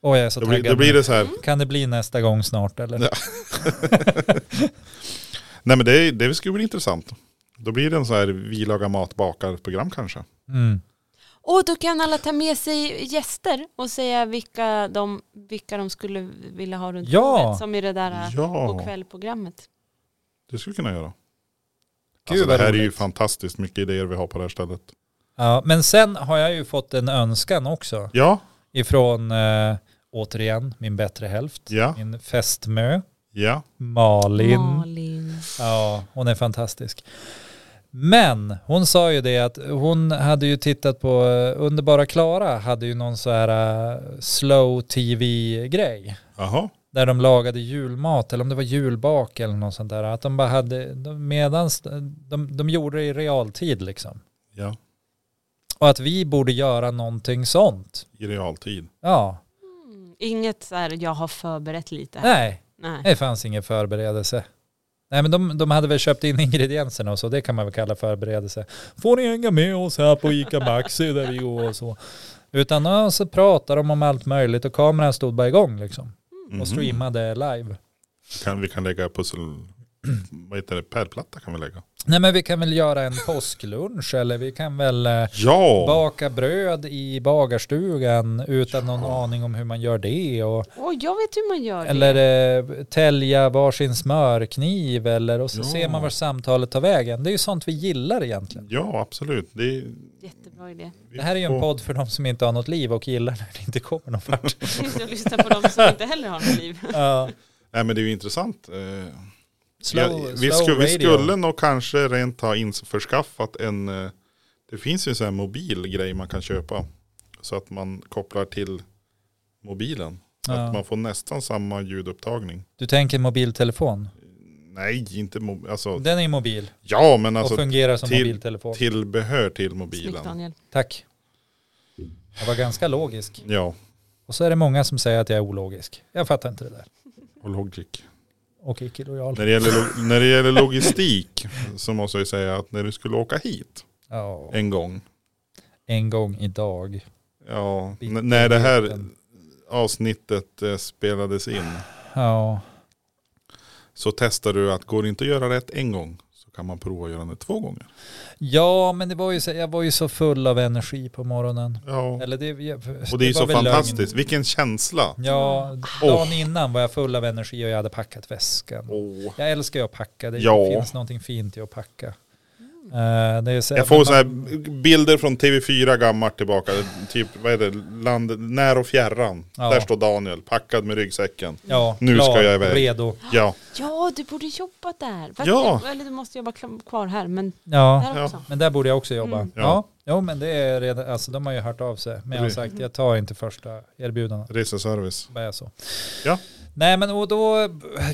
Speaker 2: åh jag är så
Speaker 1: Då blir,
Speaker 2: taggad.
Speaker 1: då blir det så här.
Speaker 2: Kan det bli nästa gång snart eller?
Speaker 1: Ja. Nej men det, är- det skulle bli intressant. Då blir det en så här vi lagar mat bakar program kanske.
Speaker 2: Mm.
Speaker 3: Och då kan alla ta med sig gäster och säga vilka de, vilka de skulle vilja ha runt
Speaker 2: Ja.
Speaker 3: bordet, som i det där eh, på
Speaker 1: Ja,
Speaker 3: kvällprogrammet.
Speaker 1: det skulle vi kunna göra.
Speaker 2: Gud,
Speaker 1: alltså, det
Speaker 2: vad
Speaker 1: här är ju
Speaker 2: roligt.
Speaker 1: fantastiskt mycket idéer vi har på det här stället.
Speaker 2: Ja, men sen har jag ju fått en önskan också
Speaker 1: Ja,
Speaker 2: ifrån eh, återigen min bättre hälft,
Speaker 1: ja,
Speaker 2: min fästmö
Speaker 1: ja.
Speaker 2: Malin.
Speaker 3: Malin.
Speaker 2: Ja, hon är fantastisk. Men hon sa ju det att hon hade ju tittat på eh, Underbara Klara hade ju någon så här eh, slow tv-grej.
Speaker 1: Jaha.
Speaker 2: där de lagade julmat eller om det var julbak eller något sånt där. Att de bara hade, de, medans de, de gjorde det i realtid liksom.
Speaker 1: Ja,
Speaker 2: Och att vi borde göra någonting sånt.
Speaker 1: i realtid.
Speaker 2: Ja,
Speaker 3: Mm. Inget så här, jag har förberett lite här.
Speaker 2: nej,
Speaker 3: Nej.
Speaker 2: det fanns ingen förberedelse. Nej men de, de hade väl köpt in ingredienserna och så, det kan man väl kalla förberedelse. Får ni hänga med oss här på ICA Maxi där vi går och så. Utan ja, så pratade de om allt möjligt och kameran stod bara igång liksom.
Speaker 1: Mhm.
Speaker 2: Och streamade live.
Speaker 1: Kan, vi kan lägga pussel... *clears throat* Vad heter det? Pärlplatta kan vi lägga.
Speaker 2: Nej men vi kan väl göra en påsklunch eller vi kan väl eh,
Speaker 1: Ja!
Speaker 2: Baka bröd i bagarstugan utan någon aning om hur man gör det. Och,
Speaker 3: Åh, jag vet hur man gör det.
Speaker 2: eller eh, tälja varsin smörkniv eller, och så
Speaker 1: Ja.
Speaker 2: ser man var samtalet tar vägen. Det är ju sånt vi gillar egentligen.
Speaker 1: Ja, absolut. Det är,
Speaker 3: Jättebra idé.
Speaker 2: Det här är ju en podd för de som inte har något liv och gillar när det inte kommer någon
Speaker 1: *laughs*
Speaker 2: vart.
Speaker 3: Sitter och lyssnar på dem som inte heller har något liv.
Speaker 2: Ja.
Speaker 1: Nej men det är ju intressant. Eh,
Speaker 2: slow,
Speaker 1: ja, vi,
Speaker 2: slow
Speaker 1: sku, vi
Speaker 2: radio.
Speaker 1: skulle nog kanske rent ha införskaffat en, eh, det finns ju en sån här mobil grej man kan köpa. Så att man kopplar till mobilen.
Speaker 2: Ja.
Speaker 1: Att man får nästan samma ljudupptagning.
Speaker 2: Du tänker mobiltelefon?
Speaker 1: Nej, inte mobil. Alltså,
Speaker 2: Den är mobil
Speaker 1: ja men
Speaker 2: och
Speaker 1: alltså
Speaker 2: fungerar som
Speaker 1: till-
Speaker 2: mobiltelefon.
Speaker 1: tillbehör till
Speaker 3: Snyggt
Speaker 1: mobilen.
Speaker 3: Daniel.
Speaker 2: Tack. Jag var ganska logisk.
Speaker 1: Ja,
Speaker 2: Och så är det många som säger att jag är ologisk. Jag fattar inte det där.
Speaker 1: och logic.
Speaker 2: Och icke-lojal.
Speaker 1: När det, gäller, lo- när det gäller logistik så måste jag ju säga att när du skulle åka hit
Speaker 2: Ja.
Speaker 1: en gång.
Speaker 2: en gång idag.
Speaker 1: Ja,
Speaker 2: Bitter
Speaker 1: n- när det här
Speaker 2: liten.
Speaker 1: avsnittet eh, spelades in.
Speaker 2: Ja,
Speaker 1: så testar du att går det inte att göra rätt en gång så kan man prova att göra det två gånger.
Speaker 2: ja men det var ju så, jag var ju så full av energi på morgonen.
Speaker 1: Ja.
Speaker 2: Eller det,
Speaker 1: Och det är ju
Speaker 2: var
Speaker 1: så
Speaker 2: väl lögn.
Speaker 1: fantastiskt. Vilken känsla.
Speaker 2: Ja, dagen innan var jag full av energi och jag hade packat väskan.
Speaker 1: Åh.
Speaker 2: Jag älskar ju att packa, det
Speaker 1: Ja.
Speaker 2: finns någonting fint i att packa. Eh, det är så,
Speaker 1: Jag får
Speaker 2: men
Speaker 1: så här
Speaker 2: man-
Speaker 1: bilder från TV4 gammalt tillbaka. Typ, vad är det? Land, när och fjärran.
Speaker 2: Ja.
Speaker 1: Där står Daniel packad med ryggsäcken.
Speaker 2: Ja,
Speaker 1: Nu
Speaker 2: klar,
Speaker 1: ska jag iväg.
Speaker 2: Redo.
Speaker 1: Ja,
Speaker 3: Ja, du borde jobba där. Fast
Speaker 1: Ja.
Speaker 3: du, eller du måste jobba kl- kvar här, men
Speaker 2: Ja,
Speaker 3: där
Speaker 1: Ja.
Speaker 3: också.
Speaker 2: men där borde jag också jobba.
Speaker 3: Mm.
Speaker 2: Ja.
Speaker 1: Ja.
Speaker 2: ja, jo, men det är redan, alltså de har ju hört av sig. Men jag har
Speaker 1: Precis.
Speaker 2: sagt, jag tar inte första erbjudandet.
Speaker 1: reseservice.
Speaker 2: Bara jag så.
Speaker 1: Ja.
Speaker 2: Nej men och då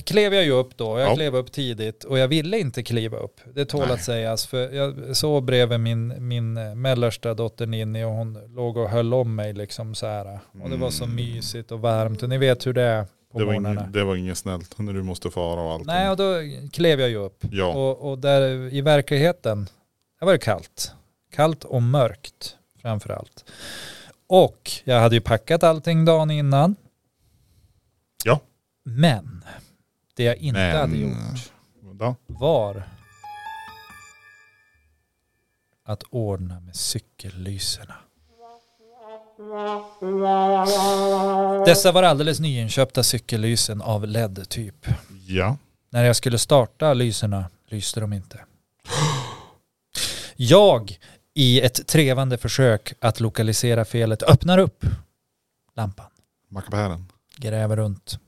Speaker 2: klev jag ju upp då. Jag
Speaker 1: Ja.
Speaker 2: klev upp tidigt och jag ville inte kliva upp. Det tål
Speaker 1: Nej.
Speaker 2: att sägas för jag sov bredvid min, min eh, mellersta dotter Ninni och hon låg och höll om mig liksom så här. Och det var så
Speaker 1: Mm.
Speaker 2: mysigt och varmt och ni vet hur det är på
Speaker 1: Det var,
Speaker 2: morgnarna.
Speaker 1: ing, det var inget snällt när du måste fara och allt.
Speaker 2: Nej och då klev jag ju upp.
Speaker 1: Ja,
Speaker 2: Och, och där i verkligheten, där var det kallt. Kallt och mörkt framför allt. Och jag hade ju packat allting dagen innan.
Speaker 1: Ja.
Speaker 2: Men det jag inte
Speaker 1: Men-
Speaker 2: hade gjort
Speaker 1: ja.
Speaker 2: var att ordna med cykellyserna. Dessa var alldeles nyinköpta cykellysen av E LED-typ.
Speaker 1: ja.
Speaker 2: När jag skulle starta lyserna lyste de inte. Jag, i ett trevande försök att lokalisera felet, öppnar upp lampan.
Speaker 1: mackapären.
Speaker 2: Gräver runt.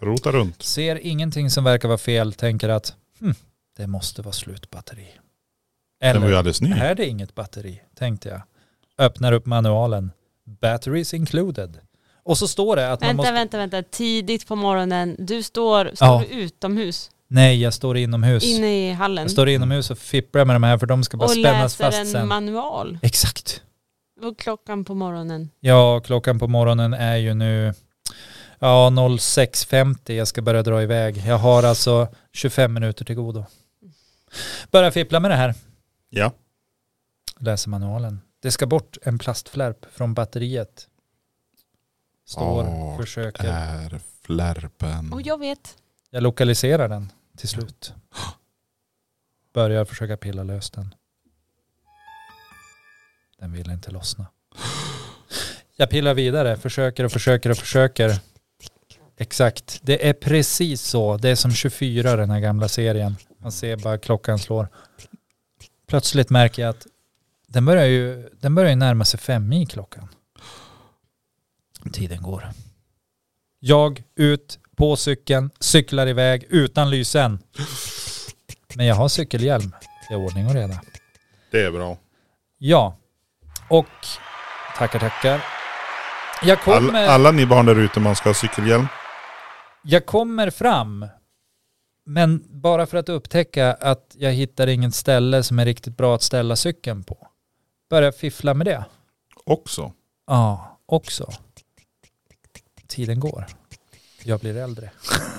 Speaker 1: Rota runt.
Speaker 2: Ser ingenting som verkar vara fel, tänker att hm, det måste vara slut batteri.
Speaker 1: Den var ju
Speaker 2: Eller,
Speaker 1: alldeles ny.
Speaker 2: här är det inget batteri, tänkte jag. Öppnar upp manualen. Batteries included. Och så står det att man
Speaker 3: Vänta,
Speaker 2: måste...
Speaker 3: vänta, vänta. Tidigt på morgonen. Du står, står
Speaker 2: Ja.
Speaker 3: du utomhus?
Speaker 2: Nej, jag står inomhus.
Speaker 3: Inne i hallen?
Speaker 2: Jag står inomhus och fipplar med de här för de ska bara
Speaker 3: och
Speaker 2: spännas
Speaker 3: läser en
Speaker 2: fast sen.
Speaker 3: manual.
Speaker 2: Exakt.
Speaker 3: Och klockan på morgonen.
Speaker 2: Ja, klockan på morgonen är ju nu ja, 06.50. Jag ska börja dra iväg. Jag har alltså 25 minuter till godo. Börja fippla med det här,
Speaker 1: Ja.
Speaker 2: läser manualen. Det ska bort en plastflärp från batteriet. Står,
Speaker 1: Vart
Speaker 2: försöker.
Speaker 1: Är flärpen.
Speaker 3: Och jag vet.
Speaker 2: Jag lokaliserar den till slut. Börjar försöka pilla lös den. Den vill inte lossna. Jag pillar vidare, försöker och försöker och försöker. Exakt, det är precis så. Det är som 24 den här gamla serien. Man ser bara klockan slår. Plötsligt märker jag att den börjar ju, den börjar ju närma sig fem i klockan. Tiden går. Jag ut på cykeln, cyklar iväg utan lysen. Men jag har cykelhjälm. Det är ordning och reda.
Speaker 1: Det är bra.
Speaker 2: Ja, och tackar tackar. Jag
Speaker 1: All,
Speaker 2: kommer,
Speaker 1: alla ni barn där ute, man ska ha cykelhjälm.
Speaker 2: jag kommer fram. Men bara för att upptäcka att jag hittar inget ställe som är riktigt bra att ställa cykeln på. Börjar fiffla med det.
Speaker 1: Också.
Speaker 2: Ja, också. Tiden går. Jag blir äldre. *laughs*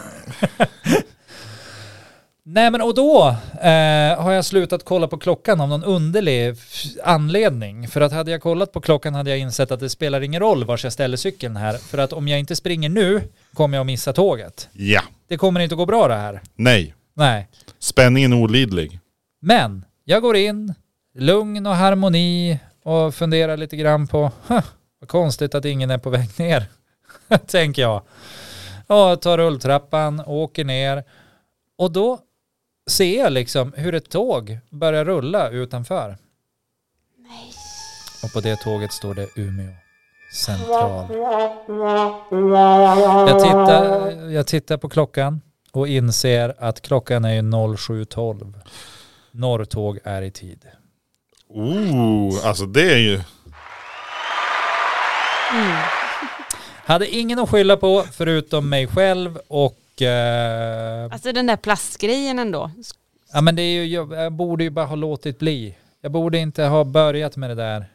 Speaker 2: Nej men och då eh, har jag slutat kolla på klockan av någon underlig f- anledning. För att hade jag kollat på klockan hade jag insett att det spelar ingen roll var jag ställer cykeln här. För att om jag inte springer nu kommer jag missa tåget.
Speaker 1: Ja.
Speaker 2: Det kommer inte att gå bra det här.
Speaker 1: Nej.
Speaker 2: Nej.
Speaker 1: Spänningen är olidlig.
Speaker 2: Men jag går in, lugn och harmoni och funderar lite grann på, "Huh, vad konstigt att ingen är på väg ner, *laughs* tänker jag. Och tar rulltrappan, åker ner och då ser jag liksom hur ett tåg börjar rulla utanför. Och på det tåget står det Umeå central. Jag tittar, jag tittar på klockan och inser att klockan är ju 07.12. Norrtåg är i tid.
Speaker 1: Ooh, alltså det är ju...
Speaker 3: Mm.
Speaker 2: Hade ingen att skylla på förutom mig själv och... Eh,
Speaker 3: Alltså den där plastgrejen ändå.
Speaker 2: ja, men det är ju, jag, jag borde ju bara ha låtit bli. Jag borde inte ha börjat med det där.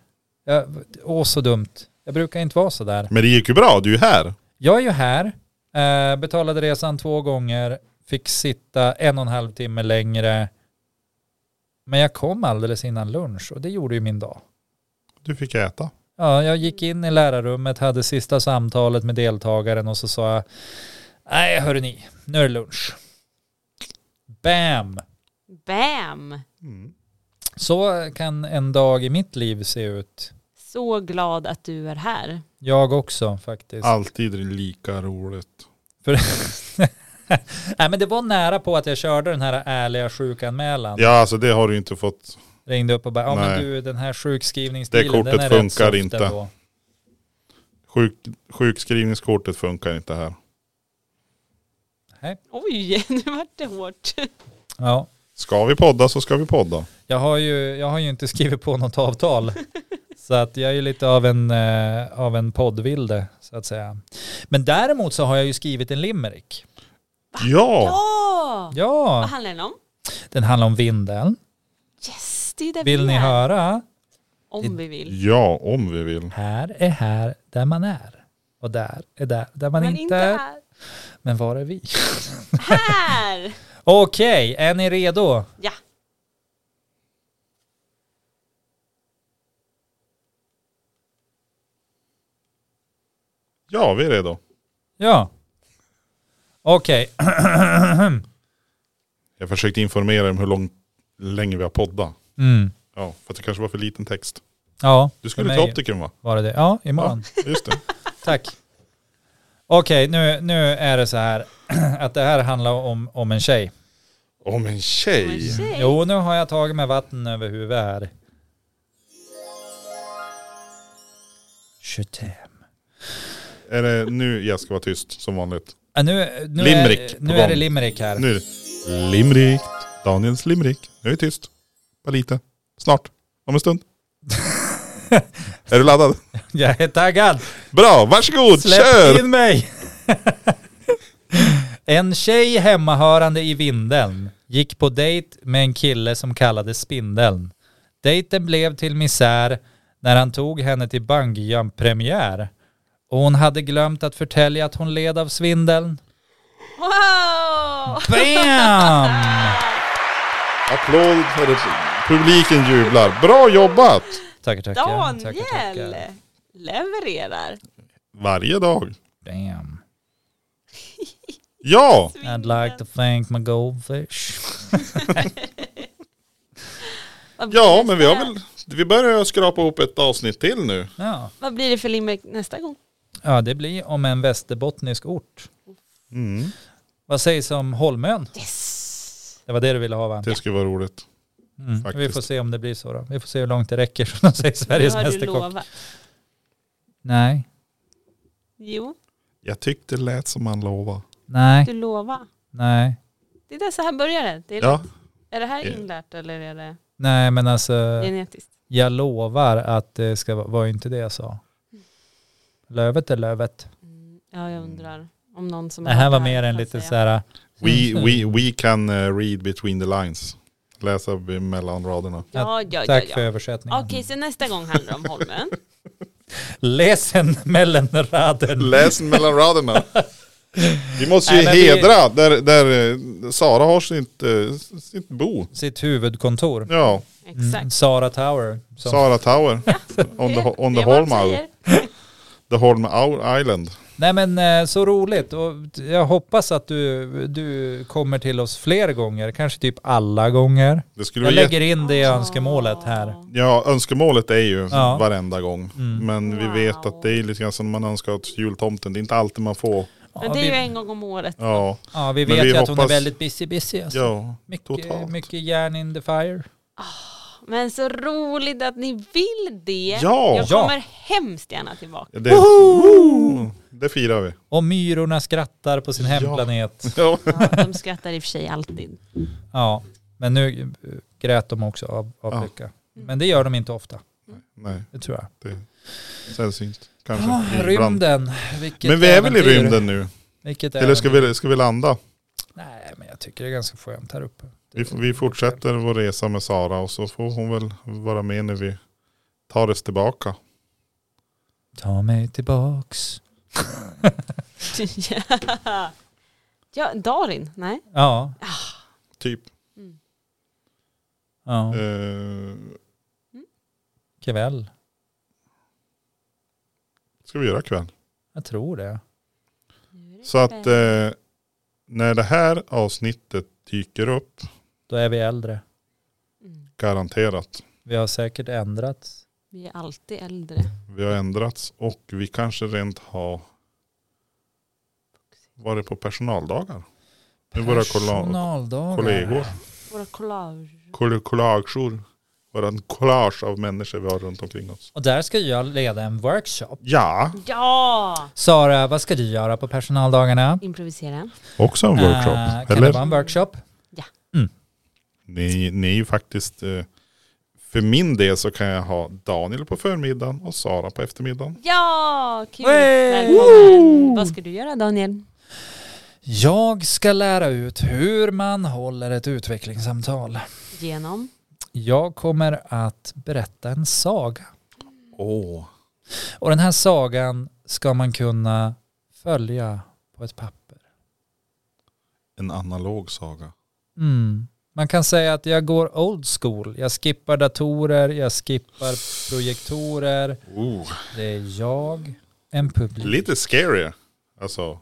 Speaker 2: Jag, åh, så dumt. Jag brukar inte vara så där.
Speaker 1: Men det gick ju bra, du är ju här.
Speaker 2: Jag är ju här, eh, betalade resan två gånger, fick sitta en och en halv timme längre. Men jag kom alldeles innan lunch och det gjorde ju min dag.
Speaker 1: Du fick äta.
Speaker 2: Ja, jag gick in i lärarrummet, hade sista samtalet med deltagaren och så sa jag, nej hörni, nu är det lunch. Bam!
Speaker 3: Bam!
Speaker 1: Mm.
Speaker 2: Så kan en dag i mitt liv se ut.
Speaker 3: Så glad att du är här.
Speaker 2: Jag också faktiskt.
Speaker 1: Alltid lika roligt.
Speaker 2: För nej, men det var nära på att jag körde den här ärliga sjukanmälan.
Speaker 1: Ja, alltså det har du ju inte fått.
Speaker 2: Ringde upp och bara, ja men
Speaker 1: Nej.
Speaker 2: du den här sjukskrivningsstilen,
Speaker 1: Det kortet
Speaker 2: den är rätt
Speaker 1: funkar
Speaker 2: soft
Speaker 1: inte.
Speaker 2: ändå."
Speaker 1: Sjuk, sjukskrivningskortet funkar inte här.
Speaker 3: Oj, *laughs* nu vart det hårt.
Speaker 2: Ja.
Speaker 1: Ska vi podda så ska vi podda.
Speaker 2: Jag har, ju, jag har ju inte skrivit på något avtal. Så att jag är ju lite av en, eh, av en poddvilde så att säga. Men däremot så har jag ju skrivit en limerick.
Speaker 1: Ja!
Speaker 3: Ja! Vad
Speaker 2: Ja,
Speaker 3: handlar den om?
Speaker 2: den handlar om vinden.
Speaker 3: Yes, det är det
Speaker 2: Vill
Speaker 3: vi
Speaker 2: ni
Speaker 3: är.
Speaker 2: höra?
Speaker 3: Om vi vill.
Speaker 1: Ja, om vi vill.
Speaker 2: Här är här där man är. Och där är där där man
Speaker 3: Men
Speaker 2: inte är.
Speaker 3: här.
Speaker 2: Men var är vi? *laughs*
Speaker 3: Här!
Speaker 2: Okej, är ni redo?
Speaker 3: Ja.
Speaker 1: Ja, vi är redo.
Speaker 2: Ja. Okej, *clears throat*
Speaker 1: Jag försökte informera dig om hur lång, länge vi har poddat.
Speaker 2: mm.
Speaker 1: Ja, för att det kanske var för liten text.
Speaker 2: ja.
Speaker 1: Du
Speaker 2: för
Speaker 1: skulle
Speaker 2: mig
Speaker 1: till optiken va?
Speaker 2: Var det det? Ja, imorgon.
Speaker 1: Just *laughs* det.
Speaker 2: Tack. Okej, nu, nu är det så här *clears throat* att det här handlar om, om en tjej.
Speaker 1: Om en
Speaker 3: Men
Speaker 1: tjej.
Speaker 3: tjej.
Speaker 2: Jo, nu har jag tagit med vatten över huvudet här. 25.
Speaker 1: Är det nu jag ska vara tyst som vanligt?
Speaker 2: Ja, nu nu,
Speaker 1: Limerick
Speaker 2: är,
Speaker 1: på
Speaker 2: nu är det
Speaker 1: gång.
Speaker 2: limerick här.
Speaker 1: Nu är det limrik. Daniels limrik. Nu är det tyst. Bara lite. Snart. Om en
Speaker 2: *laughs*
Speaker 1: stund. är du laddad?
Speaker 2: Jag är taggad.
Speaker 1: Bra, varsågod,
Speaker 2: Släpp
Speaker 1: kör!
Speaker 2: in mig! *laughs* en tjej hemmahörande i Vindeln gick på dejt med en kille som kallades Spindeln. Dejten blev till misär när han tog henne till bungyjump-premiär. Och hon hade glömt att förtälja att hon led av svindeln.
Speaker 3: Wow!
Speaker 2: Bam!
Speaker 1: Applåd, för det. publiken jublar. Bra jobbat!
Speaker 2: Tackar, tackar. Tackar,
Speaker 3: Daniel
Speaker 2: tackar.
Speaker 3: levererar.
Speaker 1: Varje dag.
Speaker 2: Damn.
Speaker 1: Ja!
Speaker 2: I'd like to thank my goldfish.
Speaker 3: Vad blir
Speaker 1: Ja,
Speaker 3: nästa-
Speaker 1: men vi har väl... Vi börjar skrapa ihop ett avsnitt till nu.
Speaker 2: Ja.
Speaker 3: Vad blir det för limerick nästa gång?
Speaker 2: ja, det blir om en västerbottnisk ort.
Speaker 1: Mm.
Speaker 2: Vad sägs om Holmön?
Speaker 3: Yes!
Speaker 2: Det var det du ville ha va?
Speaker 1: Det skulle vara roligt.
Speaker 2: Mm.
Speaker 1: faktiskt.
Speaker 2: Vi får se om det blir så då. Vi får se hur långt det räcker *laughs* som de säger Sveriges
Speaker 3: Nu har du
Speaker 2: Mästerkock.
Speaker 3: lovat.
Speaker 2: Nej,
Speaker 3: Jo,
Speaker 1: Jag tyckte det lät som han lovade.
Speaker 2: nej,
Speaker 3: du lovar.
Speaker 2: nej.
Speaker 3: Det är där så här börjar det. det är,
Speaker 1: Ja,
Speaker 3: är det här
Speaker 1: Ja.
Speaker 3: inlärt eller är det
Speaker 2: Nej men alltså,
Speaker 3: genetiskt?
Speaker 2: jag lovar att det ska vara, var ju inte det jag sa. Lövet är lövet.
Speaker 3: Mm, Ja, jag undrar om någon som
Speaker 2: Det
Speaker 3: har
Speaker 2: här
Speaker 3: hört
Speaker 2: var mer
Speaker 3: kan
Speaker 2: en liten
Speaker 3: säga.
Speaker 2: så här,
Speaker 1: we,
Speaker 2: Mm.
Speaker 1: we, we can eh, read between the lines. Läsa b- mellan raderna.
Speaker 3: Ja, ja, ja.
Speaker 2: tack för
Speaker 3: ja.
Speaker 2: översättningen.
Speaker 3: Okej, så nästa gång handlar det om Holmen.
Speaker 2: Läsen *laughs* mellan raden.
Speaker 1: Läs mellan raderna. Vi måste ju
Speaker 2: Nej, men vi-
Speaker 1: hedra där, där eh, Sara har sitt, eh, sitt bo.
Speaker 2: Sitt huvudkontor.
Speaker 1: Ja,
Speaker 2: Mm,
Speaker 3: Exakt.
Speaker 2: Sara Tower. Som,
Speaker 1: Sara Tower. On the, on the
Speaker 3: Det är vad de
Speaker 1: Holm alltså. Island.
Speaker 3: säger.
Speaker 1: The Holm Island.
Speaker 2: Nej men eh, så roligt och jag hoppas att du, du kommer till oss fler gånger, kanske typ alla gånger.
Speaker 1: Det skulle
Speaker 2: Jag
Speaker 1: vara jätte-
Speaker 2: lägger in det önskemålet här.
Speaker 1: Ja, önskemålet är ju
Speaker 2: Ja.
Speaker 1: varenda gång.
Speaker 2: Mm.
Speaker 1: Men
Speaker 3: Wow.
Speaker 1: vi vet att det är lite grann som man önskar åt jultomten. Det är inte alltid man får.
Speaker 3: Men
Speaker 2: Ja,
Speaker 3: det är ju
Speaker 2: vi,
Speaker 3: en gång om året.
Speaker 1: Ja,
Speaker 2: ja, vi
Speaker 1: Men
Speaker 2: vet
Speaker 1: vi
Speaker 2: ju att hon är
Speaker 1: hoppas-
Speaker 2: väldigt busy busy. Alltså.
Speaker 1: ja
Speaker 2: mycket,
Speaker 1: totalt.
Speaker 2: mycket järn in the fire.
Speaker 3: Men så roligt att ni vill det.
Speaker 1: Ja.
Speaker 3: Jag
Speaker 2: Ja.
Speaker 3: kommer hemskt gärna tillbaka.
Speaker 1: det, det firar vi.
Speaker 2: Och myrorna skrattar på sin
Speaker 1: Ja.
Speaker 2: hemplanet.
Speaker 1: Ja.
Speaker 3: Ja, de skrattar i och för sig alltid. *laughs*
Speaker 2: Ja, men nu eh, grät de också av, av
Speaker 1: Ja.
Speaker 2: lycka. Men det gör de inte ofta,
Speaker 1: Nej,
Speaker 2: det tror jag.
Speaker 1: det är sällsynt. Kanske.
Speaker 2: Ja,
Speaker 1: ibland.
Speaker 2: Ah, rymden, vilket
Speaker 1: Men vi är väl i
Speaker 2: äventyr.
Speaker 1: rymden nu?
Speaker 2: Vilket
Speaker 1: Eller ska
Speaker 2: äventyr.
Speaker 1: vi, ska vi landa?
Speaker 2: Nej, men jag tycker det är ganska skönt här uppe.
Speaker 1: Vi, vi fortsätter vår resa med Sara och så får hon väl vara med när vi tar oss tillbaka.
Speaker 2: Ta mig tillbaks.
Speaker 3: ja. ja, Darin, nej.
Speaker 2: Ja,
Speaker 1: Typ.
Speaker 2: ja.
Speaker 1: Eh,
Speaker 2: kväll.
Speaker 1: ska vi göra kväll?
Speaker 2: Jag tror det.
Speaker 1: Så
Speaker 3: Mm,
Speaker 1: att eh, när det här avsnittet dyker upp,
Speaker 2: Då är vi äldre.
Speaker 3: Mm.
Speaker 1: garanterat,
Speaker 2: Vi har säkert ändrats.
Speaker 3: Vi är alltid äldre.
Speaker 1: vi har ändrats och vi kanske rent har varit på personaldagar. Med våra kolla-
Speaker 2: Personaldagar.
Speaker 1: kollegor.
Speaker 3: Våra collage.
Speaker 1: Koll- Kollager. Våran collage av människor vi har runt omkring oss.
Speaker 2: Och där ska jag leda en workshop.
Speaker 1: Ja,
Speaker 3: Ja!
Speaker 2: Sara, vad ska du göra på personaldagarna?
Speaker 3: Improvisera.
Speaker 1: också en
Speaker 2: Eh,
Speaker 1: workshop.
Speaker 2: kan det
Speaker 1: eller?
Speaker 2: vara en workshop?
Speaker 1: Ni, ni är ju faktiskt, eh, för min del så kan jag ha Daniel på förmiddagen och Sara på eftermiddagen.
Speaker 3: Ja, kul!
Speaker 2: Wey!
Speaker 3: Välkommen! Vad ska du göra Daniel?
Speaker 2: Jag ska lära ut hur man håller ett utvecklingssamtal.
Speaker 3: Genom?
Speaker 2: Jag kommer att berätta en saga.
Speaker 1: Åh,
Speaker 2: Och den här sagan ska man kunna följa på ett papper.
Speaker 1: en analog saga.
Speaker 2: Mm. Man kan säga att jag går old school. Jag skippar datorer, jag skippar projektorer.
Speaker 1: Oh.
Speaker 2: Det är jag, en publik,
Speaker 1: Lite scary. Alltså,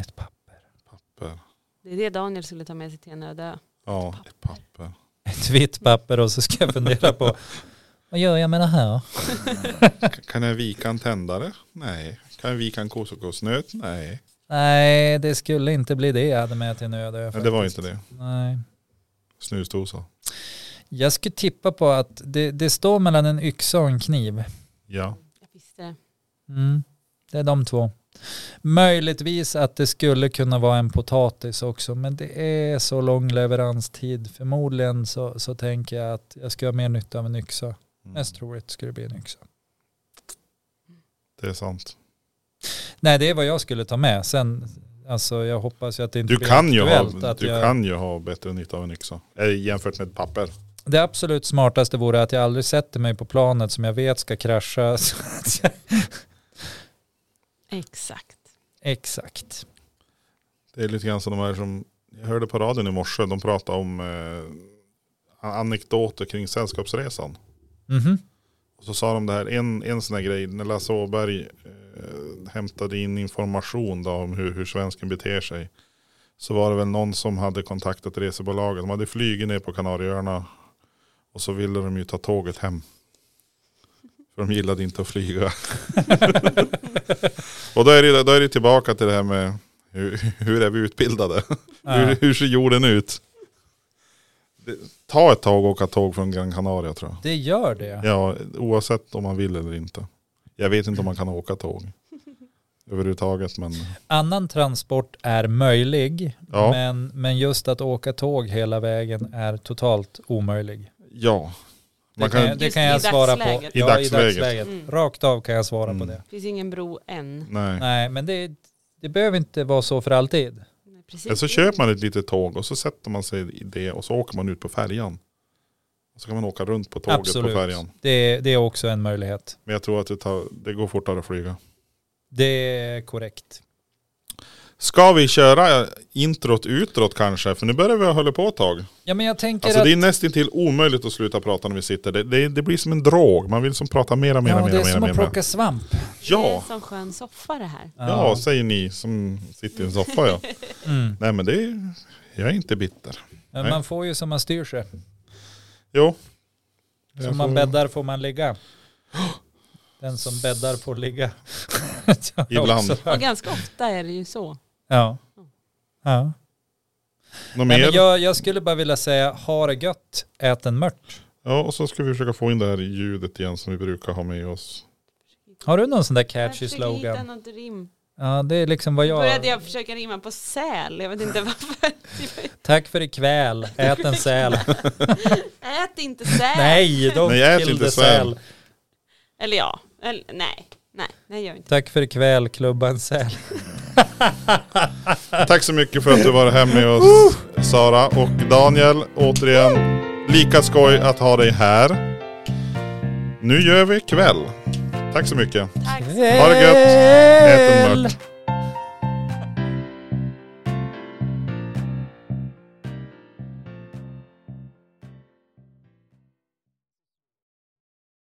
Speaker 2: ett papper.
Speaker 1: papper.
Speaker 3: Det är det Daniel skulle ta med sig till en öde ö.
Speaker 1: Ja, ett papper.
Speaker 2: Ett vitt papper och så ska jag fundera på vad gör jag med det här?
Speaker 1: K- Kan jag vika en tändare? Nej. Kan jag vika en kosokosnöt? Nej.
Speaker 2: Nej, det skulle inte bli det jag hade med till nöd.
Speaker 1: Men det var inte det.
Speaker 2: Nej.
Speaker 1: Snusdosa.
Speaker 2: Jag skulle tippa på att det, det står mellan en yxa och en kniv.
Speaker 1: Ja.
Speaker 3: Jag visste det.
Speaker 2: Mm. Det är de två. Möjligtvis att det skulle kunna vara en potatis också, men det är så lång leveranstid. Förmodligen så, så tänker jag att jag ska ha mer nytta av en yxa. Mest
Speaker 1: Mm.
Speaker 2: troligt skulle det bli en yxa.
Speaker 1: Det är sant.
Speaker 2: Nej, det är vad jag skulle ta med. Sen, alltså jag hoppas ju att det inte
Speaker 1: Du
Speaker 2: blir
Speaker 1: kan ju,
Speaker 2: aktuellt
Speaker 1: ha,
Speaker 2: att
Speaker 1: du
Speaker 2: jag,
Speaker 1: kan ju ha bättre nytta av en yxa. Eh, Jämfört med ett papper.
Speaker 2: Det absolut smartaste vore att jag aldrig sätter mig på planet som jag vet ska krascha. *laughs* Så att jag,
Speaker 3: Exakt.
Speaker 2: exakt.
Speaker 1: Det är lite grann som de här som, jag hörde på radion i morse, de pratade om eh, anekdoter kring Sällskapsresan.
Speaker 2: Mhm.
Speaker 1: Och så sa de det här, en, en sån här grej, när Lasse Åberg eh, hämtade in information då om hur, hur svensken beter sig. Så var det väl någon som hade kontaktat resebolaget. De hade flugit ner på Kanarieöarna. Och så ville de ju ta tåget hem. För de gillade inte att flyga. *laughs* och då är, det, då är det tillbaka till det här med hur, hur är vi utbildade?
Speaker 2: Ja.
Speaker 1: Hur, hur ser jorden ut? Det, ta ett tag och åka tåg från Gran Canaria tror jag.
Speaker 2: Det gör det.
Speaker 1: Ja, oavsett om man vill eller inte. Jag vet inte om man kan åka
Speaker 2: *laughs*
Speaker 1: tåg. Överhuvudtaget men
Speaker 2: Annan transport är möjlig,
Speaker 1: Ja.
Speaker 2: men, men just att åka tåg hela vägen är totalt omöjlig.
Speaker 1: ja.
Speaker 2: Det
Speaker 1: Man
Speaker 2: kan, jag-
Speaker 1: kan,
Speaker 2: det
Speaker 3: Just
Speaker 2: kan
Speaker 3: i
Speaker 2: jag svara på.
Speaker 3: dagsläget.
Speaker 1: I
Speaker 2: ja, i
Speaker 1: dagsläget.
Speaker 2: dagsläget.
Speaker 3: Mm.
Speaker 2: Rakt av kan jag svara
Speaker 1: Mm.
Speaker 2: på det.
Speaker 3: Finns ingen bro än.
Speaker 1: nej.
Speaker 2: Nej, men det, det behöver inte vara så för alltid.
Speaker 3: Nej,
Speaker 1: Eller
Speaker 3: Precis.
Speaker 1: så köper man ett litet tåg och så sätter man sig i det och så åker man ut på färjan. Och så kan man åka runt på tåget
Speaker 2: Absolut.
Speaker 1: på färjan.
Speaker 2: Det, det är också en möjlighet.
Speaker 1: Men jag tror att det, tar, det går fortare att flyga.
Speaker 2: Det är korrekt.
Speaker 1: Ska vi köra introt utåt kanske? För nu börjar vi hålla på ett tag.
Speaker 2: Ja, men jag tänker
Speaker 1: Alltså
Speaker 2: att...
Speaker 1: det är nästintill omöjligt att sluta prata när vi sitter. Det, det, det blir som en drog. Man vill som prata mera, mera,
Speaker 2: ja,
Speaker 1: mera,
Speaker 2: det är
Speaker 1: mera.
Speaker 2: som att
Speaker 1: mera.
Speaker 2: plocka svamp.
Speaker 3: Det
Speaker 1: Ja,
Speaker 3: är som skön soffa det här.
Speaker 1: ja, säger ni som sitter i en soffa
Speaker 2: *laughs*
Speaker 1: ja.
Speaker 2: Mm.
Speaker 1: Nej men det är, jag är inte bitter.
Speaker 2: Men
Speaker 1: Nej.
Speaker 2: man får ju som man styr sig.
Speaker 1: Jo.
Speaker 2: Som man bäddar får man ligga. Den som bäddar får ligga. *laughs* Det har jag
Speaker 1: Ibland.
Speaker 2: också
Speaker 3: Och
Speaker 2: hört.
Speaker 3: ganska ofta är det ju så.
Speaker 2: Ja. ja.
Speaker 1: Något
Speaker 2: Nej,
Speaker 1: mer?
Speaker 2: men jag, jag skulle bara vilja säga, ha det gött, ät en mört.
Speaker 1: Ja och så ska vi försöka få in det här ljudet igen som vi brukar ha med oss.
Speaker 2: Har du någon sån där
Speaker 3: Jag
Speaker 2: catchy
Speaker 3: försöker hitta
Speaker 2: slogan?
Speaker 3: något rim.
Speaker 2: Ja, det är liksom vad jag...
Speaker 3: Började jag försöka rimma på säl. Jag
Speaker 2: *laughs*
Speaker 3: vet inte varför.
Speaker 2: Tack för ikväll, ät en
Speaker 3: *laughs*
Speaker 2: säl.
Speaker 3: Ät inte säl.
Speaker 2: Nej, don't
Speaker 1: Nej, ät
Speaker 2: kill
Speaker 1: inte
Speaker 2: the
Speaker 1: säl.
Speaker 2: säl.
Speaker 3: Eller ja. Eller, nej. Nej, nej gör inte.
Speaker 2: Tack för ikväll, klubba en säl.
Speaker 1: Tack så mycket för att du var här med oss
Speaker 2: *laughs*
Speaker 1: Sara och Daniel. Återigen, lika skoj att ha dig här. Nu gör vi kväll. Tack så mycket.
Speaker 3: Tack så
Speaker 1: Ha det gött. Ät en mört.